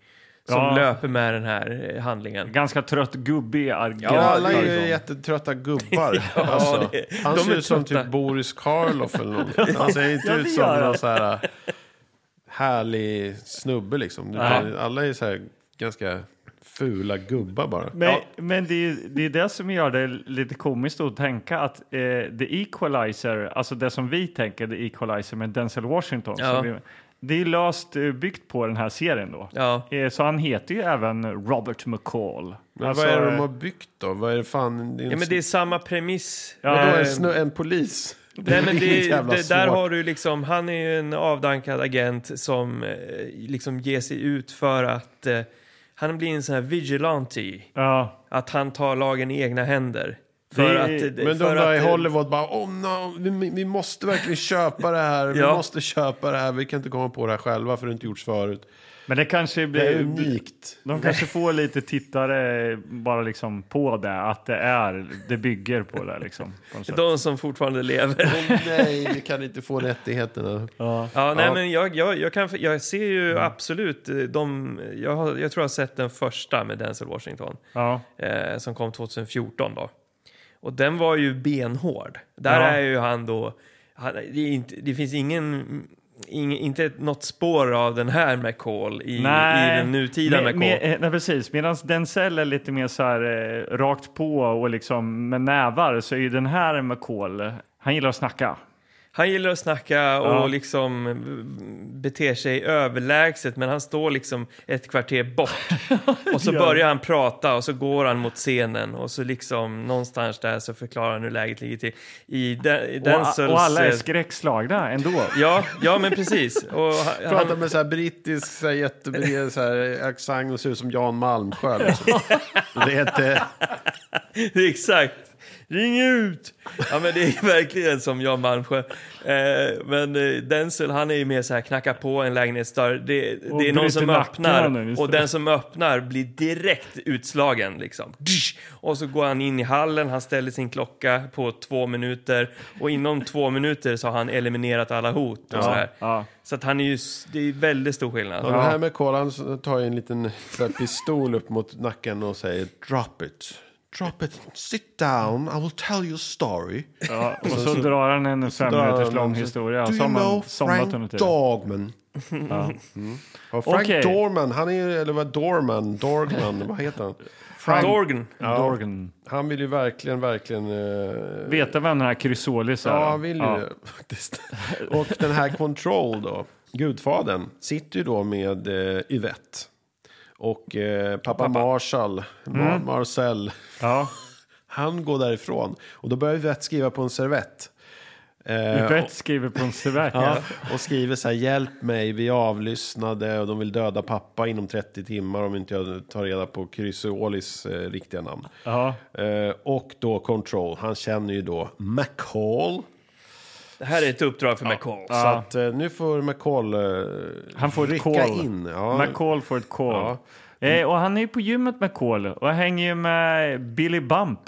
B: som
A: Ja.
B: löper med den här eh, handlingen.
A: Ganska trött gubbig agent.
C: Ja, alla är
A: liksom.
C: ju jättetrötta gubbar.
B: [laughs]
C: alltså.
B: det-
C: Han
B: de
C: ser
B: är
C: ut som
B: trötta.
C: typ Boris Karloff
B: [laughs]
C: eller något. Han ser inte
A: Ja, det
C: ut
A: gör
C: som
A: han.
C: någon så här äh, härlig snubbe liksom. Utan Alla är så här ganska fula gubbar bara.
A: Men, men det, är, ju- det är det som gör det lite komiskt att tänka att eh, The Equalizer, alltså det som vi tänker The Equalizer med Denzel Washington,
B: Ja.
A: som vi, det är löst eh, byggt på den här serien då.
B: Ja.
A: Eh, så han heter ju även Robert McCall.
C: Men
A: Alltså,
C: vad är det de
A: eh,
C: har byggt då? Vad är det fan? Det är en,
B: Ja, men det är samma premiss.
A: Ja,
C: vadå,
A: eh,
C: en, snö, en polis?
B: Nej, men
C: [laughs] Det är
B: det,
C: jävla
B: det, där
C: svårt.
B: har du liksom, han är ju en avdankad agent som eh, liksom ger sig ut för att eh, han blir en sån här vigilante.
A: Ja,
B: Att han tar lagen i egna händer. För
A: Det-
B: att, eh,
C: Men de
B: för
C: där i
B: att,
C: Hollywood bara, oh no, vi, vi måste verkligen köpa det här, vi
B: Ja.
C: måste köpa det här, vi kan inte komma på det här själva för det har inte gjorts förut.
A: men det kanske
C: Det är
A: blir...
C: unikt.
A: de kanske får lite tittare bara liksom på det, att det är, det bygger på det liksom. På något sätt.
B: De som fortfarande lever.
C: Åh nej, vi kan inte få rättigheterna.
B: Ja, nej,
C: Ja. Mm.
B: men jag, jag, jag, kan, jag ser ju absolut eh, de... Jag, har, jag tror jag har sett den första med Denzel Washington
A: Ja.
B: eh, som kom 2014. Då. Och den var ju benhård. Där
A: Ja.
B: är ju han då... Han, det, är inte, det finns ingen... Ingen, inte ett- något spår av den här McCall i, i den nutida
A: Med-
B: McCall.
A: med- eh, nej, precis. Medan Denzel är lite mer så här eh, rakt på och liksom med nävar så är ju den här McCall, han gillar att snacka.
B: Han gillar att snacka och
A: Ja.
B: liksom eh, beter sig överlägset men han står liksom ett kvarter bort. och
A: [laughs]
B: så
A: Ja.
B: börjar han prata och så går han mot scenen och så liksom någonstans där så förklarar han hur läget ligger till. I Dan- i
A: Och,
B: Denzels...
A: och alla är
B: eh,
A: skräckslagna ändå.
B: Ja, ja men precis.
A: [laughs]
B: Och han, han,
C: Pratar med så här brittisk så här, jättebred så här, accent och ser ut som Jan Malmsjö. Liksom. det är inte...
B: Exakt. Ring ut! Ja, men det är verkligen som Jan Malmsjö. Eh, men eh, Denzel, han är ju mer så här, knacka på en lägenhetsdörr. Det,
A: Och
B: det är någon
A: bryter
B: som
A: nacken
B: öppnar
A: av den, just
B: och
A: det.
B: den som öppnar blir direkt utslagen. Liksom. Dysch! Och så går han in i hallen, han ställer sin klocka på två minuter och inom två minuter så har han eliminerat alla hot. Och så här.
A: ja.
B: så att han är ju, s- det är väldigt stor skillnad.
C: Ja, den här med kolan så tar ju en liten så här, pistol upp mot nacken och säger drop it. Drop it, sit down, I will tell you a story.
A: Ja, och så drar han en fem
C: drar
A: minuters
C: han
A: lång
C: en-
A: historia
C: Do
A: som
C: you know
A: man somnat under
C: Frank
A: tiden.
C: Dorman? Mm. Ja, Frank
A: Okej.
C: Dorman, han är ju, eller vad, Dorman, Dorgman, vad heter han? Frank,
B: Dorgan.
A: Ja. Dorgan.
C: han vill ju verkligen, verkligen... eh,
A: Veta vem den här Chrysolis är?
C: Ja, han vill ju det, [laughs] faktiskt. Och den här Control då, gudfadern, sitter ju då med eh, Yvette. Och eh, pappa, Marshall, Mar- Marcel,
A: Ja.
C: han går därifrån. Och då börjar Yvette skriva på en servett. Eh,
A: Yvette skriver på en servett.
C: Ja, och skriver så här, hjälp mig, vi är avlyssnade och de vill döda pappa inom 30 timmar om inte jag tar reda på Chrysolis eh, riktiga namn.
A: Ja.
C: Eh, och då Control, han känner ju då McCall.
B: Det här är ett uppdrag för McCall.
C: Så att eh, nu får McCall eh,
A: Han får ett
C: rycka
A: call.
C: in. Ja.
A: McCall får ett call. Eh, och han är ju på gymmet McCall och hänger ju med Billy Bump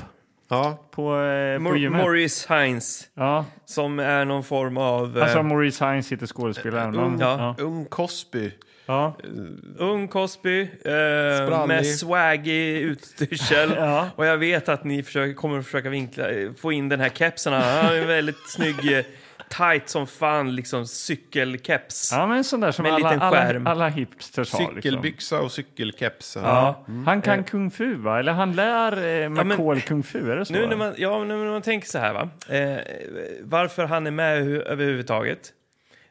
C: ja.
A: på, eh, på
B: Mor-
A: gymmet.
B: Maurice Hines,
A: ja.
B: som är någon form av... eh,
A: Alltså Maurice Hines heter skådespelaren. men-
B: ja.
C: Ung Cosby.
A: Ja.
B: Ung Cosby, eh, med swaggig utstyrsel.
A: [laughs] Ja.
B: Och jag vet att ni försöker, kommer att försöka vinkla, eh, få in den här kepsen. Han har
A: [laughs]
B: en väldigt snygg, eh, tight som fan, liksom cykelkeps.
A: ja, men sån där som
B: Med en
A: alla,
B: liten
A: alla,
B: skärm.
A: alla hipsters har. Liksom.
C: Cykelbyxa och cykelkeps. eh.
B: Ja.
A: Han kan kung fu, va? Eller han lär eh,
B: Mm. Eh. men-
A: McCall kung fu, är det så?
B: Nu när man, ja, men nu när man tänker så här, va? Eh, varför han är med hu- överhuvudtaget.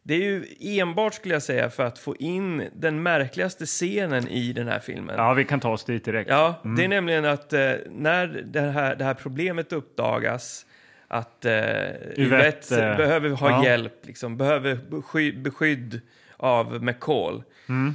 B: Det är ju enbart skulle jag säga för att få in den märkligaste scenen i den här filmen.
A: Ja, vi kan ta oss dit direkt.
B: Ja, det är nämligen att eh, när det här, det här problemet uppdagas att eh, Yvette
A: eh,
B: behöver ha
A: ja.
B: hjälp, liksom, behöver beskydd, beskydd av McCall.
A: Mm.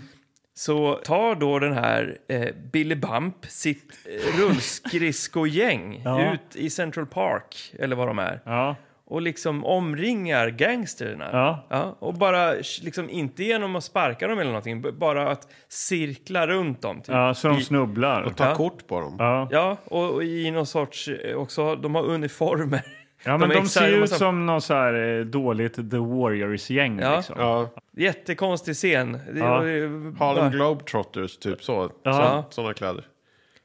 B: Så tar då den här eh, Billy Bump sitt eh, rullskridskogäng
A: [laughs] Ja.
B: ut i Central Park, eller vad de är,
A: Ja.
B: och liksom omringar gangsterna.
A: Ja.
B: och bara sh- liksom inte genom att sparka dem eller någonting, b- bara att cirkla runt dem. Typ.
A: Ja, så de
B: I-
A: snubblar.
C: Ta
B: Ja.
C: kort på dem.
A: Ja.
B: Ja, och, och i någon sorts eh, också, de har uniformer.
A: Ja, men
B: är
A: de,
B: exakt-
A: ser
B: har
A: ju ut
B: sam-
A: som någon så här eh, dåligt The Warriors-gäng.
B: Ja.
A: Liksom.
C: Ja.
B: Jättekonstig scen. Det-
A: Ja.
B: och eh, det- bara-
C: Harlem Globetrotters, typ så.
A: Ja.
C: Sådana kläder.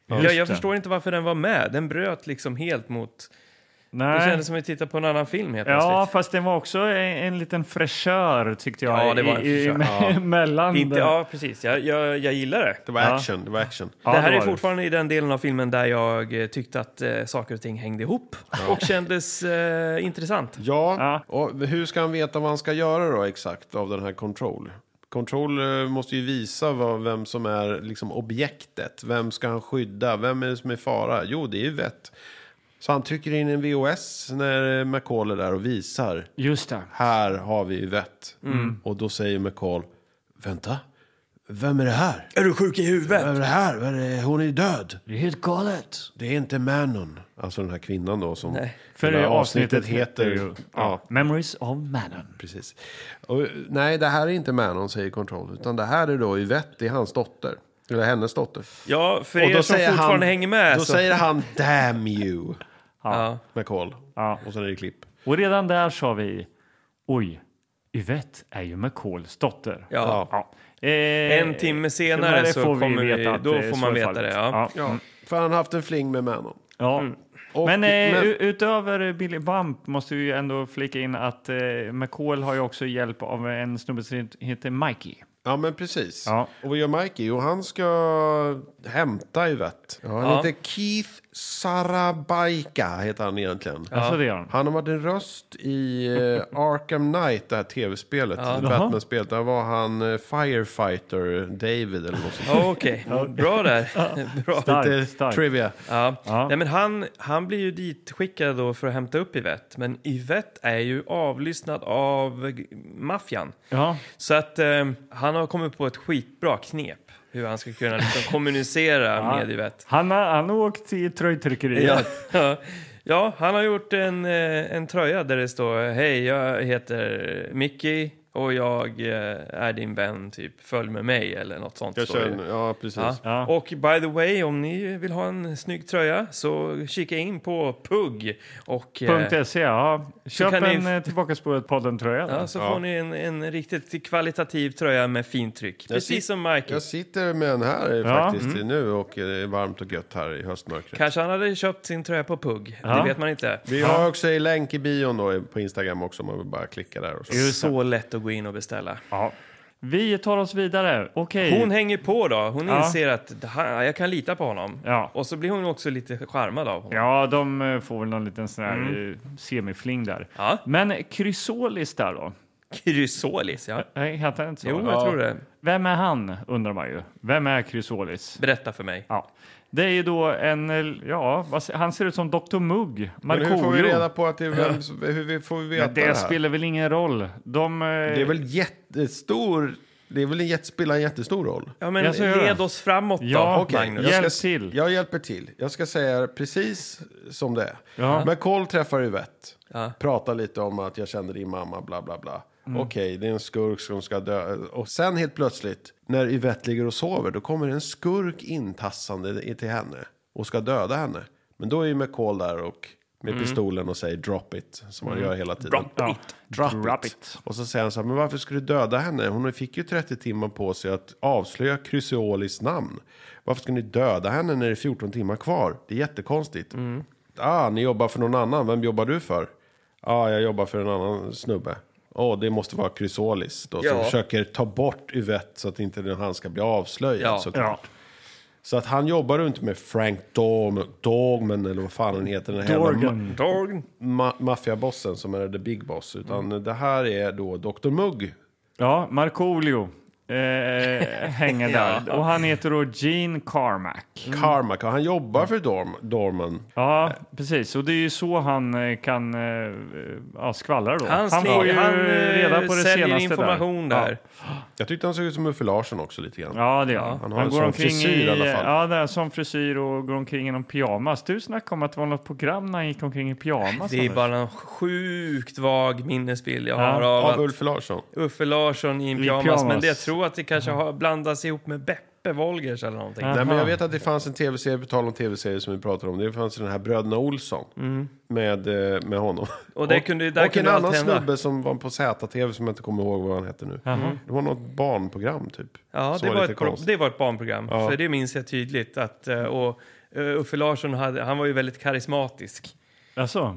B: Ja, jag
A: Just det.
B: förstår inte varför den var med. Den bröt liksom helt mot... Det
A: Nej.
B: kändes som att vi tittar på en annan film helt
A: Ja,
B: plötsligt.
A: fast den var också en, en liten fräschör tyckte jag.
B: Ja, det var en
A: i, i, [laughs]
B: fräschör,
A: mellan
B: Inte,
A: den-
B: ja, precis. Jag, jag, jag gillar det.
C: Det var
A: Ja.
C: action. Det var action.
A: Ja,
B: det här
A: var
B: är fortfarande i den delen av filmen där jag eh, tyckte att eh, saker och ting hängde ihop och kändes eh, intressant.
C: Ja,
A: Ja.
C: och hur ska han veta vad han ska göra då exakt av den här Control? Control eh, måste ju visa vad, vem som är liksom objektet. Vem ska han skydda? Vem är det som är i fara? Jo, det är ju vett. Så han trycker in en VOS när eh, McCall är där och visar.
A: Just det.
C: Här har vi vett. Och då säger McCall, vänta, vem är det här?
B: Är du sjuk i huvudet?
C: Vem är det här? Vem är det? Hon är död.
A: Det är helt galet.
C: Det är inte Manon. Alltså den här kvinnan då som...
B: Nej.
A: För
C: det här
A: det avsnittet heter ju
C: Ja,
A: ja. Memories of Manon.
C: Precis. Och, nej, det här är inte Manon, säger Control. Utan det här är då Yvette, det är hans dotter. Eller hennes dotter.
B: Ja, för er som fortfarande hänger med.
C: Då
B: så,
C: säger han damn you,
B: ja.
C: McCall.
A: Ja.
C: Och sen är det klipp.
A: Och redan där sa vi, oj, Yvette är ju McCalls dotter.
B: Ja.
A: Eh,
B: En timme senare
A: senare
B: så
A: får vi
B: kommer vi-
A: veta att
B: då
A: det-
B: får
A: så
B: man
A: är
B: veta
A: fallet.
B: det, ja. Mm.
A: ja. Mm.
C: För han har haft en fling med Manon.
A: ja.
C: Och-
A: men, eh,
C: men-
A: u- utöver Billy Bump måste vi ju ändå flika in att eh, McCall har ju också hjälp av en snubbe som heter Mikey.
C: Ja, men precis.
A: Ja.
C: Och vad gör Mikey? Jo, han ska hämta Yvette. Ja, han
B: Ja.
C: heter Keith Sarabaika, heter han egentligen.
A: Alltså det gör han.
C: Han har varit en röst i eh, Arkham Knight, det här tv-spelet. Batman-spelet. Där var han eh, Firefighter David eller något sånt.
A: [laughs]
B: Ja, Okej, bra där. [laughs] bra.
A: Starkt,
C: Lite
A: starkt.
C: trivia.
B: Ja.
A: Ja.
B: Nej, men han, han blir ju ditskickad då för att hämta upp Yvette, men Yvette är ju avlyssnad av g- maffian.
A: Ja.
B: Så att eh, han har kommit på ett skitbra knep hur han ska kunna
C: [laughs]
B: liksom, kommunicera med Yvette. [laughs]
A: Han har, han har åkt till
B: Ja.
A: tröjtryckeriet.
B: ja, han har gjort en, eh, en tröja där det står Hej, jag heter Mickey och jag eh, är din vän, typ följ med mig eller något sånt.
C: Jag
B: står det.
C: känner, ja, precis.
B: Ja.
A: Ja.
B: Och by the way, om ni vill ha en snygg tröja så kika in på PUG och eh,
A: Punkt .se, ja. Köp
B: kan ni-
A: en ni... Tillbaka spåret podden-tröja.
B: ja, så får ni en, en riktigt kvalitativ tröja med fint tryck.
C: sit-
B: Precis som Mikey.
C: Jag sitter med en här eh,
A: Ja.
C: faktiskt nu och det är varmt och gött här i höstmörkret.
B: Kanske han hade köpt sin tröja på PUG,
A: Ja.
B: det vet man inte.
C: Vi har också i länk i bion då eh, på Instagram också om man vill bara klicka där. Och så.
B: Så lätt att gå in och beställa.
A: Ja. Vi tar oss vidare. Okej.
B: Hon hänger på då. Hon
A: Ja.
B: inser att det här- jag kan lita på honom.
A: Ja.
B: Och så blir hon också lite charmad av [laughs] honom.
A: Ja, de eh, får väl någon liten sån här
C: Mm.
A: eh, semifling där.
B: Ja.
A: Men Chrysolis där då?
B: Chrysolis, ja.
A: Nej, Heter han inte så?
B: Jo,
A: Ja.
B: jag tror det.
A: Vem är han, undrar man ju. Vem är Chrysolis?
B: Berätta för mig.
A: Ja. Det är ju då en, eh, ja, vad se- han ser ut som Dr Mugg,
C: Men hur får vi reda
A: Markoolio.
C: på att det är vem, som- hur vi får vi veta
A: Men
C: det, här?
A: Det spelar väl ingen roll. De, eh,
C: Det är väl jättestor, det är väl en jätte, spelar en jättestor roll.
B: Ja, men
A: Jag ser det.
B: led oss framåt då,
A: Ja,
C: Okej,
B: Magnus.
A: Ja.
C: jag
A: Hjälp
C: ska,
A: till.
C: Jag hjälper till. Jag ska säga det precis som det är.
A: Ja.
C: McCall träffar Yvette.
B: Ja.
C: Pratar lite om att jag känner din mamma, bla bla bla. Okej, det är en skurk som ska dö. Och sen helt plötsligt, när Yvette ligger och sover, då kommer en skurk intassande i- till henne och ska döda henne. Men då är ju McCall där och med pistolen och säger drop it, som han gör hela tiden.
B: Drop
A: Ja.
B: it.
C: Drop,
A: Drop
C: it.
A: it.
C: Och så säger han så här, men varför skulle du döda henne? Hon fick ju 30 timmar på sig att avslöja Chrysolis namn. Varför ska ni döda henne när det är 14 timmar kvar? Det är jättekonstigt.
B: Mm.
C: Ah, ni jobbar för någon annan. Vem jobbar du för? Ah, jag jobbar för en annan snubbe. Åh, det måste vara Chrysolis då, som
B: Ja.
C: försöker ta bort Yvette så att inte den- han ska bli avslöjad
B: Ja.
A: ja.
C: såklart. Så att han jobbar ju inte med Frank Dorm, Dogman eller vad fan han heter. Den här jävla ma-
A: Dorgan.
B: Dorg.
C: ma-
B: Mm.
C: maffiabossen som är the big boss. Utan det här är då Dr Mugg.
A: Ja, Markoolio. eh, hänger där. Och han heter då Gene Carmack.
C: Carmack, han jobbar för Dorm, Dorman.
A: Ja, precis. Och det är ju så han eh, kan eh, ja, skvallra då.
B: Han,
A: får ju
B: slänger- han eh,
A: reda på det
B: säljer
A: senaste
B: information där.
C: Jag tyckte han såg ut som Uffe Larsson också lite grann.
A: Ja, ja det gör han.
C: Han har en sån frisyr i alla fall.
A: Ja, det är en sån frisyr och går omkring i någon pyjamas. Du snackade om att det var något program när han gick omkring i pyjamas.
B: Det är
A: Anders.
B: bara en sjukt vag minnesbild jag har av
C: Av
B: att
C: Ulf Larsson.
B: Uffe Larsson i en
A: I
B: pyjamas, men
A: pyjamas.
B: det jag tror att det kanske har blandas ihop med Beppe Wolgers eller någonting.
A: Ja.
C: Nej, men
A: Aha.
C: jag vet att det fanns en tv-serie, på tal om tv-serier som vi pratar om. Det fanns den här Bröderna Olsson med, eh, med honom.
B: Mm. Och det kunde- där
C: och
B: kunde
C: en
B: allt
C: annan
B: hända.
C: snubbe som var på ZTV som jag inte kommer ihåg vad han hette nu. Det var något barnprogram typ.
B: Ja,
C: Som
B: det var,
C: lite
B: ett, pro-
C: konstigt.
B: det var ett barnprogram, för det minns jag tydligt. Att, eh, och eh, Uffe Larsson hade, han var ju väldigt karismatisk.
A: Jaså?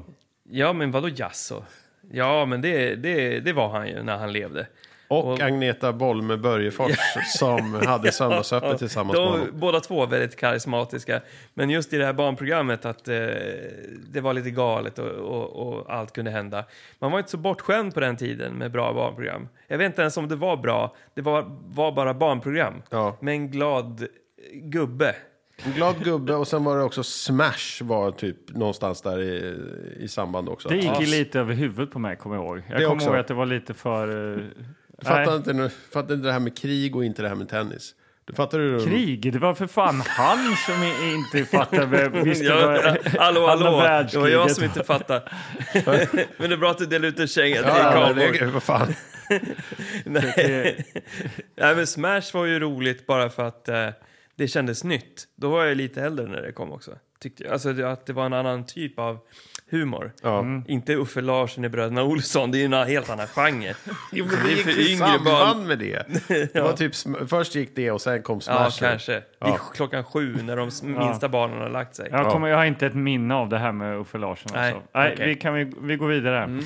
B: Ja, men vadå jasso? Ja, men det, det, det var han ju när han levde.
C: Och, Agneta Bolme Börjefors [laughs] som hade söndagsöppet tillsammans med
B: De,
C: honom.
B: båda två väldigt karismatiska. Men just i det här barnprogrammet att eh, det var lite galet och, och, och allt kunde hända. Man var inte så bortskämd på den tiden med bra barnprogram. Jag vet inte ens om det var bra. Det var, var bara barnprogram.
C: Ja.
B: Med en glad eh, gubbe.
C: En glad gubbe och sen var det också Smash var typ någonstans där i, i samband också.
A: Det gick
C: Ja.
A: ju lite över huvudet på mig, kommer jag ihåg. Jag
C: Det
A: kommer
C: också.
A: ihåg att det var lite för... eh,
C: Fattar
A: nej.
C: inte, nu- fattar inte det här med krig och inte det här med tennis. Du fattar du?
A: Krig? Det var för fan han som i- inte fattade. Visst, det
B: Jag,
A: var
B: [laughs] hallå,
A: andra
B: hallå. Det var jag
A: världskriget.
B: som inte fattade. [laughs] men det är bra att du delar ut en känga till
C: Ja, men
B: Karlborg.
C: det, vad fan.
B: Nej. [laughs] Nej, men Smash var ju roligt bara för att eh, det kändes nytt. Då var jag lite äldre när det kom också. Tyckte jag. Alltså det, att det var en annan typ av humor.
C: Ja.
A: Mm.
B: Inte Uffe Larsson i Bröderna Olsson, det är ju en helt annan genre.
C: [laughs] Jo, men
B: Det
C: det
B: är
C: gick
B: för
C: i
B: yngre
C: samband
B: barn.
C: med det. det var typ, sm- först gick det och sen kom
B: Ja,
C: Smash.
B: kanske. Det är klockan sju när de s- minsta barnen har lagt sig.
A: Jag, kommer, jag har inte ett minne av det här med Uffe Larsson.
B: Nej,
A: alltså. Nej,
B: okej. Mm.
A: vi, kan vi, vi går vidare.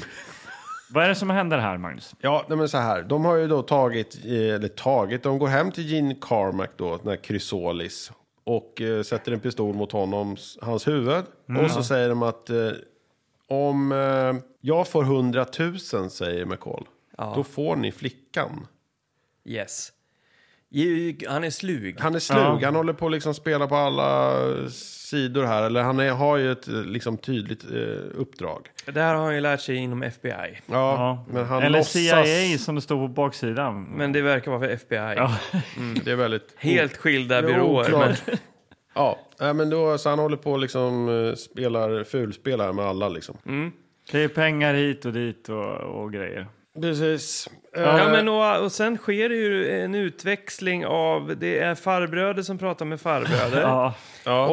A: Vad är det som händer här, Magnus?
C: Ja, nej, men så här. De har ju då tagit, eh, eller tagit, de går hem till Gene Carmack då, den här Chrysolis. Och eh, sätter en pistol mot honom, hans huvud.
A: Mm.
C: Och så säger de att eh, om eh, jag får 100 000 säger McCall. Då får ni flickan.
B: Yes. Ju- Han är slug.
C: Han är slug, han håller på att liksom spela på alla sidor här. Eller han är, har ju ett eh, liksom, tydligt eh, uppdrag.
B: Det här har han ju lärt sig inom FBI.
C: Ja,
A: Ja.
C: men han
A: Eller
C: låtsas...
A: CIA som det står på baksidan.
B: Men det verkar vara för FBI.
C: Det är väldigt...
B: [laughs] Helt skilda
C: Det är
B: byråer. Men,
C: oklart. [laughs] Ja, nej, men då, så han håller på och liksom eh, spelar fulspel här med alla liksom.
B: Mm.
A: Det är pengar hit och dit och, och grejer.
C: Precis. Eh,
B: ja, men och, och sen sker det ju en utväxling av... Det är farbröder som pratar med farbröder.
A: Ja,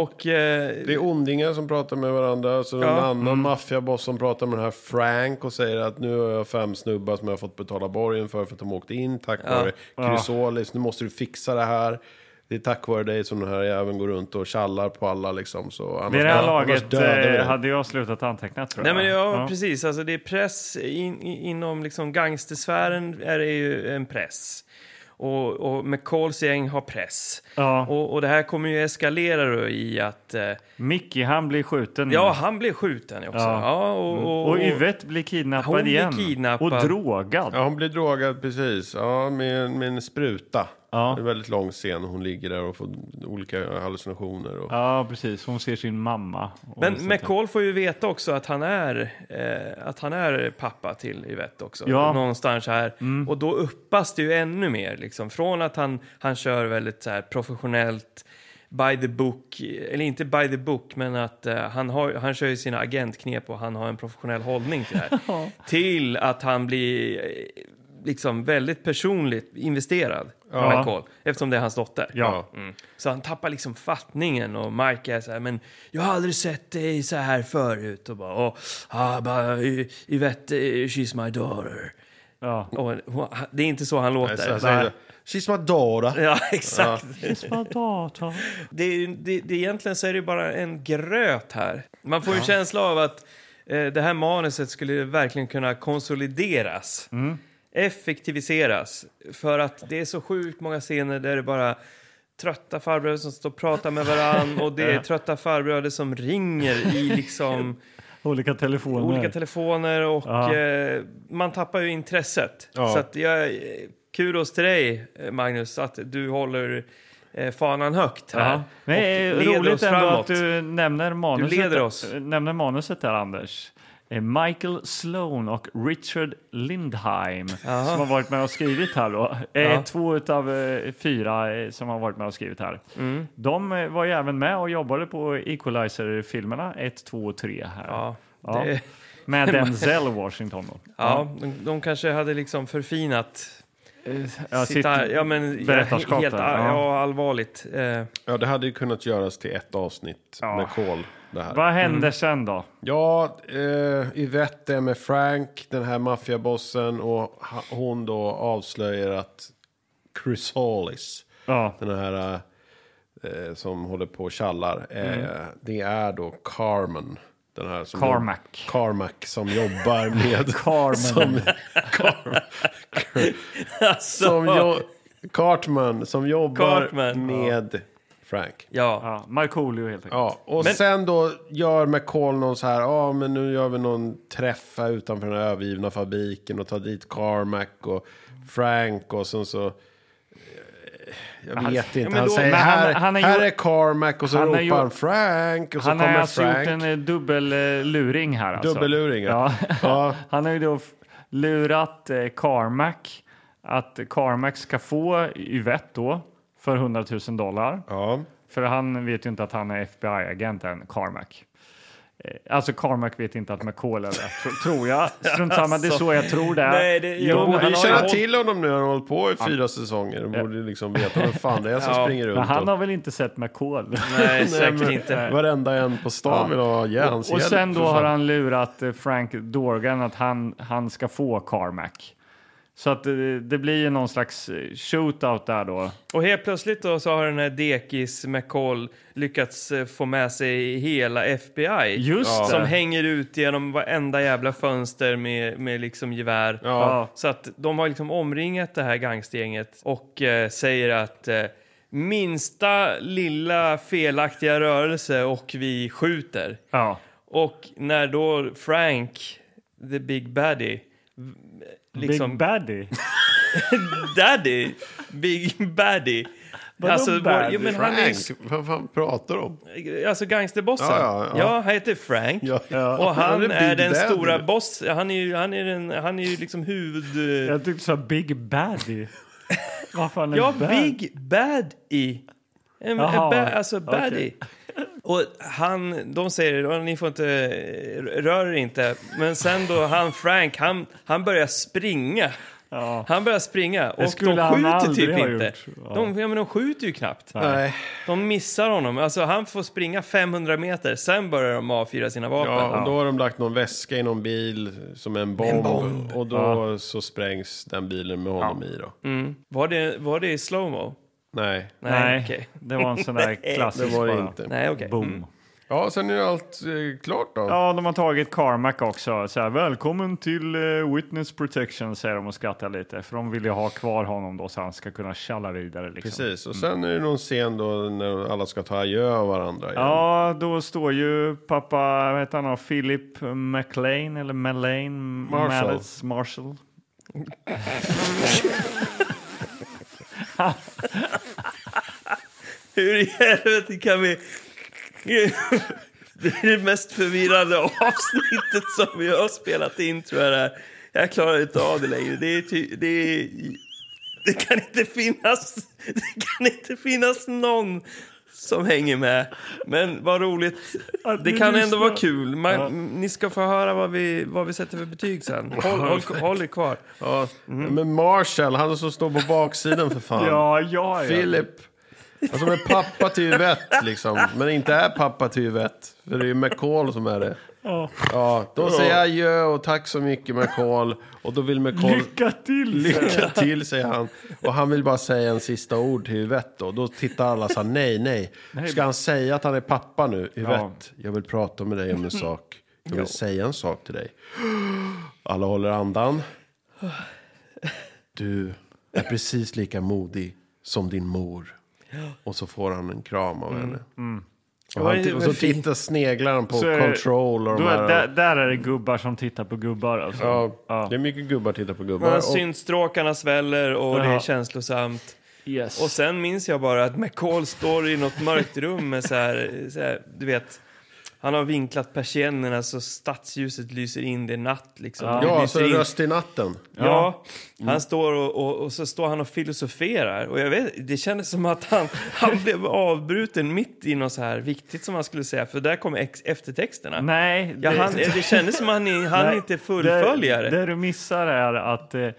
B: Och eh,
C: Det är ondingar som pratar med varandra, så det är en annan
A: Mm.
C: maffiaboss som pratar med den här Frank och säger att nu har jag fem snubbar som jag har fått betala borgen för för att de åkte in tack vare Chrysolis. Nu måste du fixa det här. Det är tack vare dig som den här jäveln går runt och tjallar på alla liksom. Så annars,
A: vid det här
C: annars
A: laget
C: dödar vi
A: eh,
C: dig.
A: hade jag slutat anteckna tror
B: Nej,
A: jag.
B: men ja, precis. Alltså, det är press in, i- inom liksom gangstersfären är det ju en press. Och, och McCalls gäng har press.
A: Ja.
B: Och, och det här kommer ju eskalera då i att... Eh,
A: Mickey, han blir skjuten.
B: ja, han blir skjuten också. Ja.
A: Mm. Ja.
B: och, och,
A: och Yvette blir kidnappad
B: Hon blir
A: igen.
B: kidnappad.
A: Och drogad.
C: Ja, hon blir drogad precis. Ja, med, en- med en spruta.
A: Ja.
C: Det är en väldigt lång scen. Hon ligger där och får olika hallucinationer. Och...
A: Ja, precis. Hon ser sin mamma. och
B: Men
A: sånt där.
B: McCall får ju veta också att han är, eh, att han är pappa till Yvette också.
A: Ja. Mm.
B: Någonstans här. Och då uppas det ju ännu mer. Liksom. Från att han, han kör väldigt så här, professionellt, by the book, eller inte by the book, men att eh, han, har, han kör ju sina agentknep och han har en professionell hållning till
A: [laughs]
B: det här. till att han blir eh, liksom väldigt personligt investerad, McCall, eftersom det är hans dotter.
A: Ja.
B: Mm. Så han tappar liksom fattningen och Mike är så här, men jag har aldrig sett dig så här förut. Och bara, oh, ah, bara "Y- Yvette, eh, she's my daughter.
A: Ja.
B: Och, hon- ha- det är inte så han låter.
C: Så jag
B: Nej.
C: säger, She's my daughter.
B: Ja, [laughs] exakt.
A: Spadata.
B: Det, är ju- det, det, egentligen så är det ju bara en gröt här. Man får ju en känsla av att eh, det här manuset skulle verkligen kunna konsolideras. Effektiviseras. För att det är så sjukt många scener där det bara trötta farbröder som står och pratar med varann och det är trötta farbröder som ringer i liksom
A: Olika telefoner.
B: olika telefoner och
A: Ja.
B: eh, man tappar ju intresset. Så att jag, eh, kudos till dig, eh, Magnus, att du håller eh, fanan högt här.
A: Ja. Men det är
B: och leder
A: roligt
B: oss
A: ändå
B: framåt.
A: att du nämner manuset,
B: leder oss.
A: äh, nämner manuset där, Anders. Eh, Michael Sloan och Richard Lindheim som har varit med och skrivit här. Då. Eh,
B: Ja.
A: Två av fyra eh, som har varit med och skrivit här.
B: Mm.
A: De eh, var ju även med och jobbade på Equalizer-filmerna 1, 2 och 3. Här.
B: Ja,
A: Ja.
B: det- [laughs]
A: Med Denzel Washington. Då.
B: Ja, de, de kanske hade liksom förfinat
A: Eh, Ja,
B: sitt, ar- ja, men,
A: berättarskap
B: Helt,
A: där,
B: ar-
A: ja.
B: ja, allvarligt. Eh,
C: Ja, det hade ju kunnat göras till ett avsnitt med Cole. Det här.
A: Vad händer
B: Mm.
A: sen då?
C: Ja, eh, Yvette är med Frank, den här maffiabossen. Och ha- hon då avslöjar att Chrysalis,
A: Ja.
C: den här eh, som håller på och tjallar. Eh, Det är då Carmen. Den här som
A: Carmack.
C: Carmack som jobbar med...
A: Carmen.
C: Som, Car, som jo, Cartman som jobbar
B: Cartman, ja.
C: med Frank.
B: ja.
A: Ja, Markoolio helt enkelt.
C: Ja, och sen då gör McCall någon så här, ja ah, men nu gör vi någon träff här utanför den här övergivna fabriken och tar dit Carmack och Frank och sen så... eh, Jag vet inte,
B: men
C: han
B: då-
C: säger
A: men han-
C: här,
A: han har
C: här
A: gjort-
C: är Carmack och så
A: han har
C: ropar
A: gjort-
C: han Frank och så
A: Han har
C: kommer
A: alltså
C: Frank.
A: gjort en eh, dubbel eh, luring här. Alltså.
C: Dubbelluring,
A: ja.
C: ja. [laughs] Ja.
A: [laughs] Han har ju då f- lurat eh, Carmack att Carmack ska få Yvette då för 100 000 dollar.
C: Ja,
A: För han vet ju inte att han är FBI-agent än, Carmack. Eh, Alltså Carmack vet inte att McCall är det, tro- tror jag. Strunt samma,
C: [laughs] Alltså.
A: det är så jag tror det. är.
B: Nej, det- jo, men
A: borde
B: han
C: vi
B: har ju
C: känner
B: hållit-
C: till honom nu, han har hållit på i fyra säsonger. De borde ju liksom veta vem fan det är som
B: Ja.
C: springer runt.
A: Men han
C: och-
A: har väl inte sett McCall? [laughs]
B: Nej,
C: Nej,
B: säkert
C: men
B: inte.
C: Varenda en på stan vill ha ja, hans
A: Och
C: hjälp,
A: sen då
C: för
A: har
C: fan.
A: han lurat eh, Frank Dorgan att han, han ska få Carmack. Så att eh, det blir ju någon slags eh, shootout där då.
B: Och helt plötsligt då så har den här Dekis McCall lyckats eh, få med sig hela FBI.
A: Just det.
B: Som hänger ut genom varenda jävla fönster med, med liksom gevär.
A: Ja.
B: Så att de har liksom omringat det här gangstergänget och eh, säger att eh, minsta lilla felaktiga rörelse och vi skjuter.
A: Ja.
B: Och när då Frank, the big baddie, v- liksom
A: Big Baddy.
B: daddy, big baddie. Alltså,
A: Vadå
B: vår-
A: baddie?
B: jo, men han är ju
C: Frank, vad fan pratar de om?
B: Alltså gangsterbossen?
C: Ja, ja, ja.
B: han heter Frank.
C: Ja. Ja.
B: Och han
C: Han är
B: är,
C: Big
B: den
C: Daddy.
B: stora boss... Han är ju, han är den, han är ju liksom huvud... eh,
A: Jag tyckte du sa Big Baddy. Vad fan är
B: Ja,
A: bad?
B: Big Bad E. En, en
A: Jaha,
B: ba, alltså Baddy.
A: okej.
B: Och han, de säger, "Åh, ni får inte, eh, rör er inte. Men sen då han Frank, han, han börjar springa.
A: Ja.
B: Han börjar springa och
A: skulle
B: de
A: han
B: skjuter
A: aldrig
B: typ
A: ha
B: inte.
A: gjort. Ja.
B: De, ja, men de skjuter ju knappt.
C: Nej.
B: De missar honom. Alltså han får springa 500 meter, sen börjar de avfyra sina vapen.
C: Ja, och då har de lagt någon väska i någon bil som en bomb. Och då så sprängs den bilen med honom i då.
B: Var, det, var det i slowmo?
C: Nej,
A: Mm. Nej,
B: okej.
A: det var en sån där
C: det
A: klassisk
C: var det
A: bara.
C: inte.
B: Nej, okej.
A: Boom.
C: Ja, sen är allt eh, klart då.
A: Ja, de har tagit Carmack också. Så här, Välkommen till eh, Witness Protection säger de och skrattar lite. För de vill ju ha kvar honom då så han ska kunna tjalla vidare. Liksom.
C: Precis, och sen är det någon scen då när alla ska ta adjö av varandra. igen.
A: Ja, då står ju pappa, vad heter han, då? Philip McLean eller Melane
C: Marshall.
A: Malice Marshall.
B: Hur i helvete kan vi... Det är det mest förvirrande avsnittet som vi har spelat in, tror jag. det här. Jag klarar inte av det längre. Det, är ty... det, är... det kan inte finnas... Det kan inte finnas någon som hänger med. Men vad roligt.
A: Att
B: Det
A: ni
B: kan ändå
A: lyssnar.
B: vara kul. Man, Ni ska få höra vad vi, vad vi sätter för betyg sen. Håll, håll, håll er kvar.
C: Ja, Mm. Men Marshall, han som står på baksidan för fan.
A: [laughs] Ja, ja, ja.
C: Philip. Han som är pappa till Yvette liksom. Men inte är pappa till Yvette. För det är ju McCall som är det. Ja, då säger jag adjö och tack så mycket McCall. Och då vill McCall...
A: Lycka till!
C: Lycka [laughs] till, säger han. Och han vill bara säga en sista ord till Yvette. Då, då tittar alla så här, nej, nej. Ska han säga att han är pappa nu? Yvette, jag vill prata
A: [laughs]
C: med dig om en sak. Jag vill säga en sak till dig. Alla håller andan. Du är precis
A: Mm,
C: lika modig som din mor. Och så får han en kram av henne. Och, han,
B: det
C: och
B: var
C: så
B: fint.
C: tittar sneglar han på
A: Så är-
C: Control och de
A: Då är,
C: här...
A: där, där är det gubbar som tittar på gubbar. Alltså.
C: ja,
A: Ja.
C: Det är mycket gubbar tittar på gubbar.
B: Men
C: Och,
B: Syntstråkarna sväller och det är
A: Jaha.
B: känslosamt.
A: Yes.
B: Och sen minns jag bara att McCall står i något mörkt rum med så här, så här du vet, han har vinklat persiennerna så stadsljuset lyser in, det är natt liksom. Det
C: ja,
B: lyser
C: så
B: in.
C: Röst Mm. i natten.
B: Ja, han står och, och, och så står han och filosoferar och jag vet, det kändes som att han, han blev avbruten mitt i något så här viktigt som han skulle säga, för där kom ex- eftertexterna.
A: Nej,
B: Ja, han, det kändes som att han, han
A: nej,
B: inte fullföljer.
A: Det, det du missar är att eh,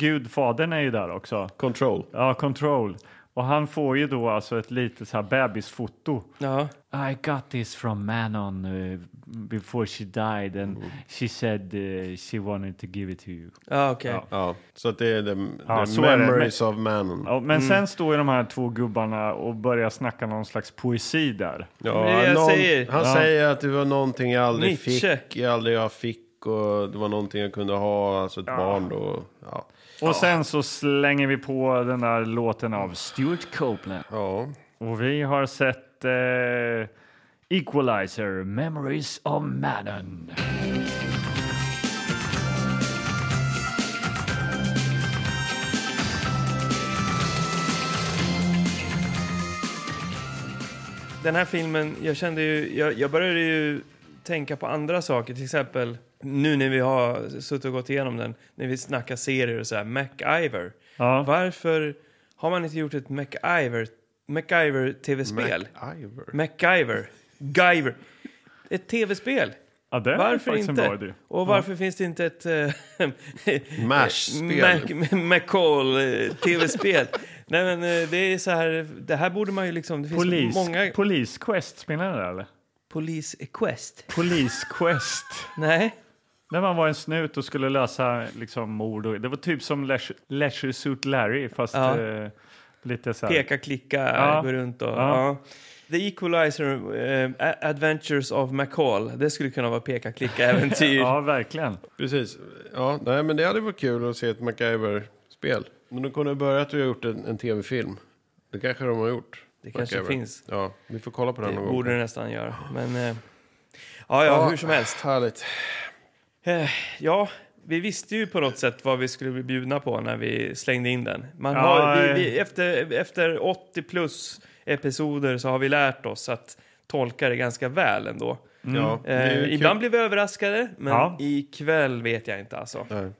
A: gudfadern är ju där också.
C: Control.
A: Ja, Control. Och han får ju då alltså ett litet så här bebisfoto.
B: Ja.
A: I got this from Manon uh, before she died and she said uh, she wanted to give it to you.
B: Mm. Ja, okej.
C: Ja, så att det är the,
A: Ja,
C: the
A: så är det.
C: memories of mannen.
A: Ja, men
B: Mm.
A: sen står ju de här två gubbarna och börjar snacka någon slags poesi där.
C: Ja,
B: det är det jag
C: någon,
B: säger.
C: Han säger att det var någonting jag aldrig
B: Nietzsche.
C: fick, jag aldrig jag fick och det var någonting jag kunde ha, alltså ett barn då. Ja.
A: Och sen så slänger vi på den där låten av Stuart Copeland.
C: ja.
A: Och vi har sett eh, Equalizer, Memories of Manon.
B: Den här filmen, jag kände ju, jag, jag började ju tänka på andra saker, till exempel nu när vi har suttit och gått igenom den, när vi snackar serier och så här, MacGyver.
A: Ja.
B: Varför har man inte gjort ett MacGyver, MacGyver tv-spel?
C: MacIver.
B: MacGyver. Guyver. Ett tv-spel.
A: Ja, det är
B: Varför
A: faktiskt en bra
B: inte?
A: idé.
B: Och varför finns det inte ett... eh,
C: Mash-spel.
B: Mac- McCall eh, tv-spel. Nej men eh, det är så här, det här borde man ju liksom... Det finns
A: Polis,
B: många...
A: Police Quest, spelar ni det eller?
B: Police Quest?
A: Police Quest.
B: Nej.
A: När man var en snut och skulle lösa liksom, mord. Och, det var typ som Leisure, Leisure Suit Larry, fast
B: Ja.
A: eh, lite så här.
B: Peka, klicka,
A: Ja.
B: gå runt och... Ja.
A: Ja.
B: The Equalizer, eh, A- Adventures of McCall. Det skulle kunna vara peka, klicka, äventyr.
A: [laughs] Ja, verkligen.
C: Precis. Ja, nej, men det hade varit kul att se ett MacGyver-spel. Men de kunde ha börjat och gjort en, en tv-film. Det kanske de har gjort.
B: Det kanske finns.
C: Ja, vi får kolla på den
B: Det
C: någon
B: borde
C: gång.
B: det nästan göra. Men eh, ja, ja, hur som helst.
C: Härligt.
B: Eh, ja, vi visste ju på något sätt vad vi skulle bli bjudna på när vi slängde in den. Man
A: Ja,
B: har, vi,
A: eh.
B: vi, efter, efter 80 plus episoder så har vi lärt oss att tolka det ganska väl ändå.
C: Ja, Mm. det är ju
B: Eh,
C: kul.
B: ibland blir vi överraskade, men
A: Ja.
B: ikväll vet jag inte alltså.
C: Nej.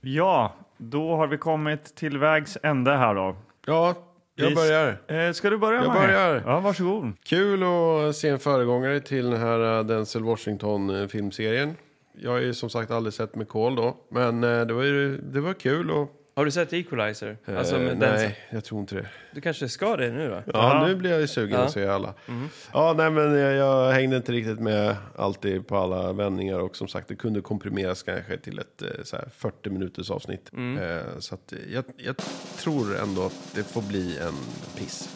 A: Ja, då har vi kommit till vägs ände här då.
C: Ja, jag
A: Vi-
C: börjar.
A: Eh, ska du börja
C: Jag
A: Mange?
C: börjar.
A: Ja, varsågod.
C: Kul att se en föregångare till den här eh, Denzel Washington-filmserien. Jag har ju som sagt aldrig sett McCall då, men eh, det var, ju, det var kul och...
B: Har du sett Equalizer? alltså,
C: eh,
B: med den,
C: nej, jag tror inte det.
B: du kanske ska det nu då?
C: Ja, nu blir jag ju sugen att se alla. Ja, nej men jag, jag hängde inte riktigt med alltid på alla vändningar och som sagt det kunde komprimeras kanske till ett eh, så här 40 minuters avsnitt. Eh, Så att jag, jag tror ändå att det får bli en piss.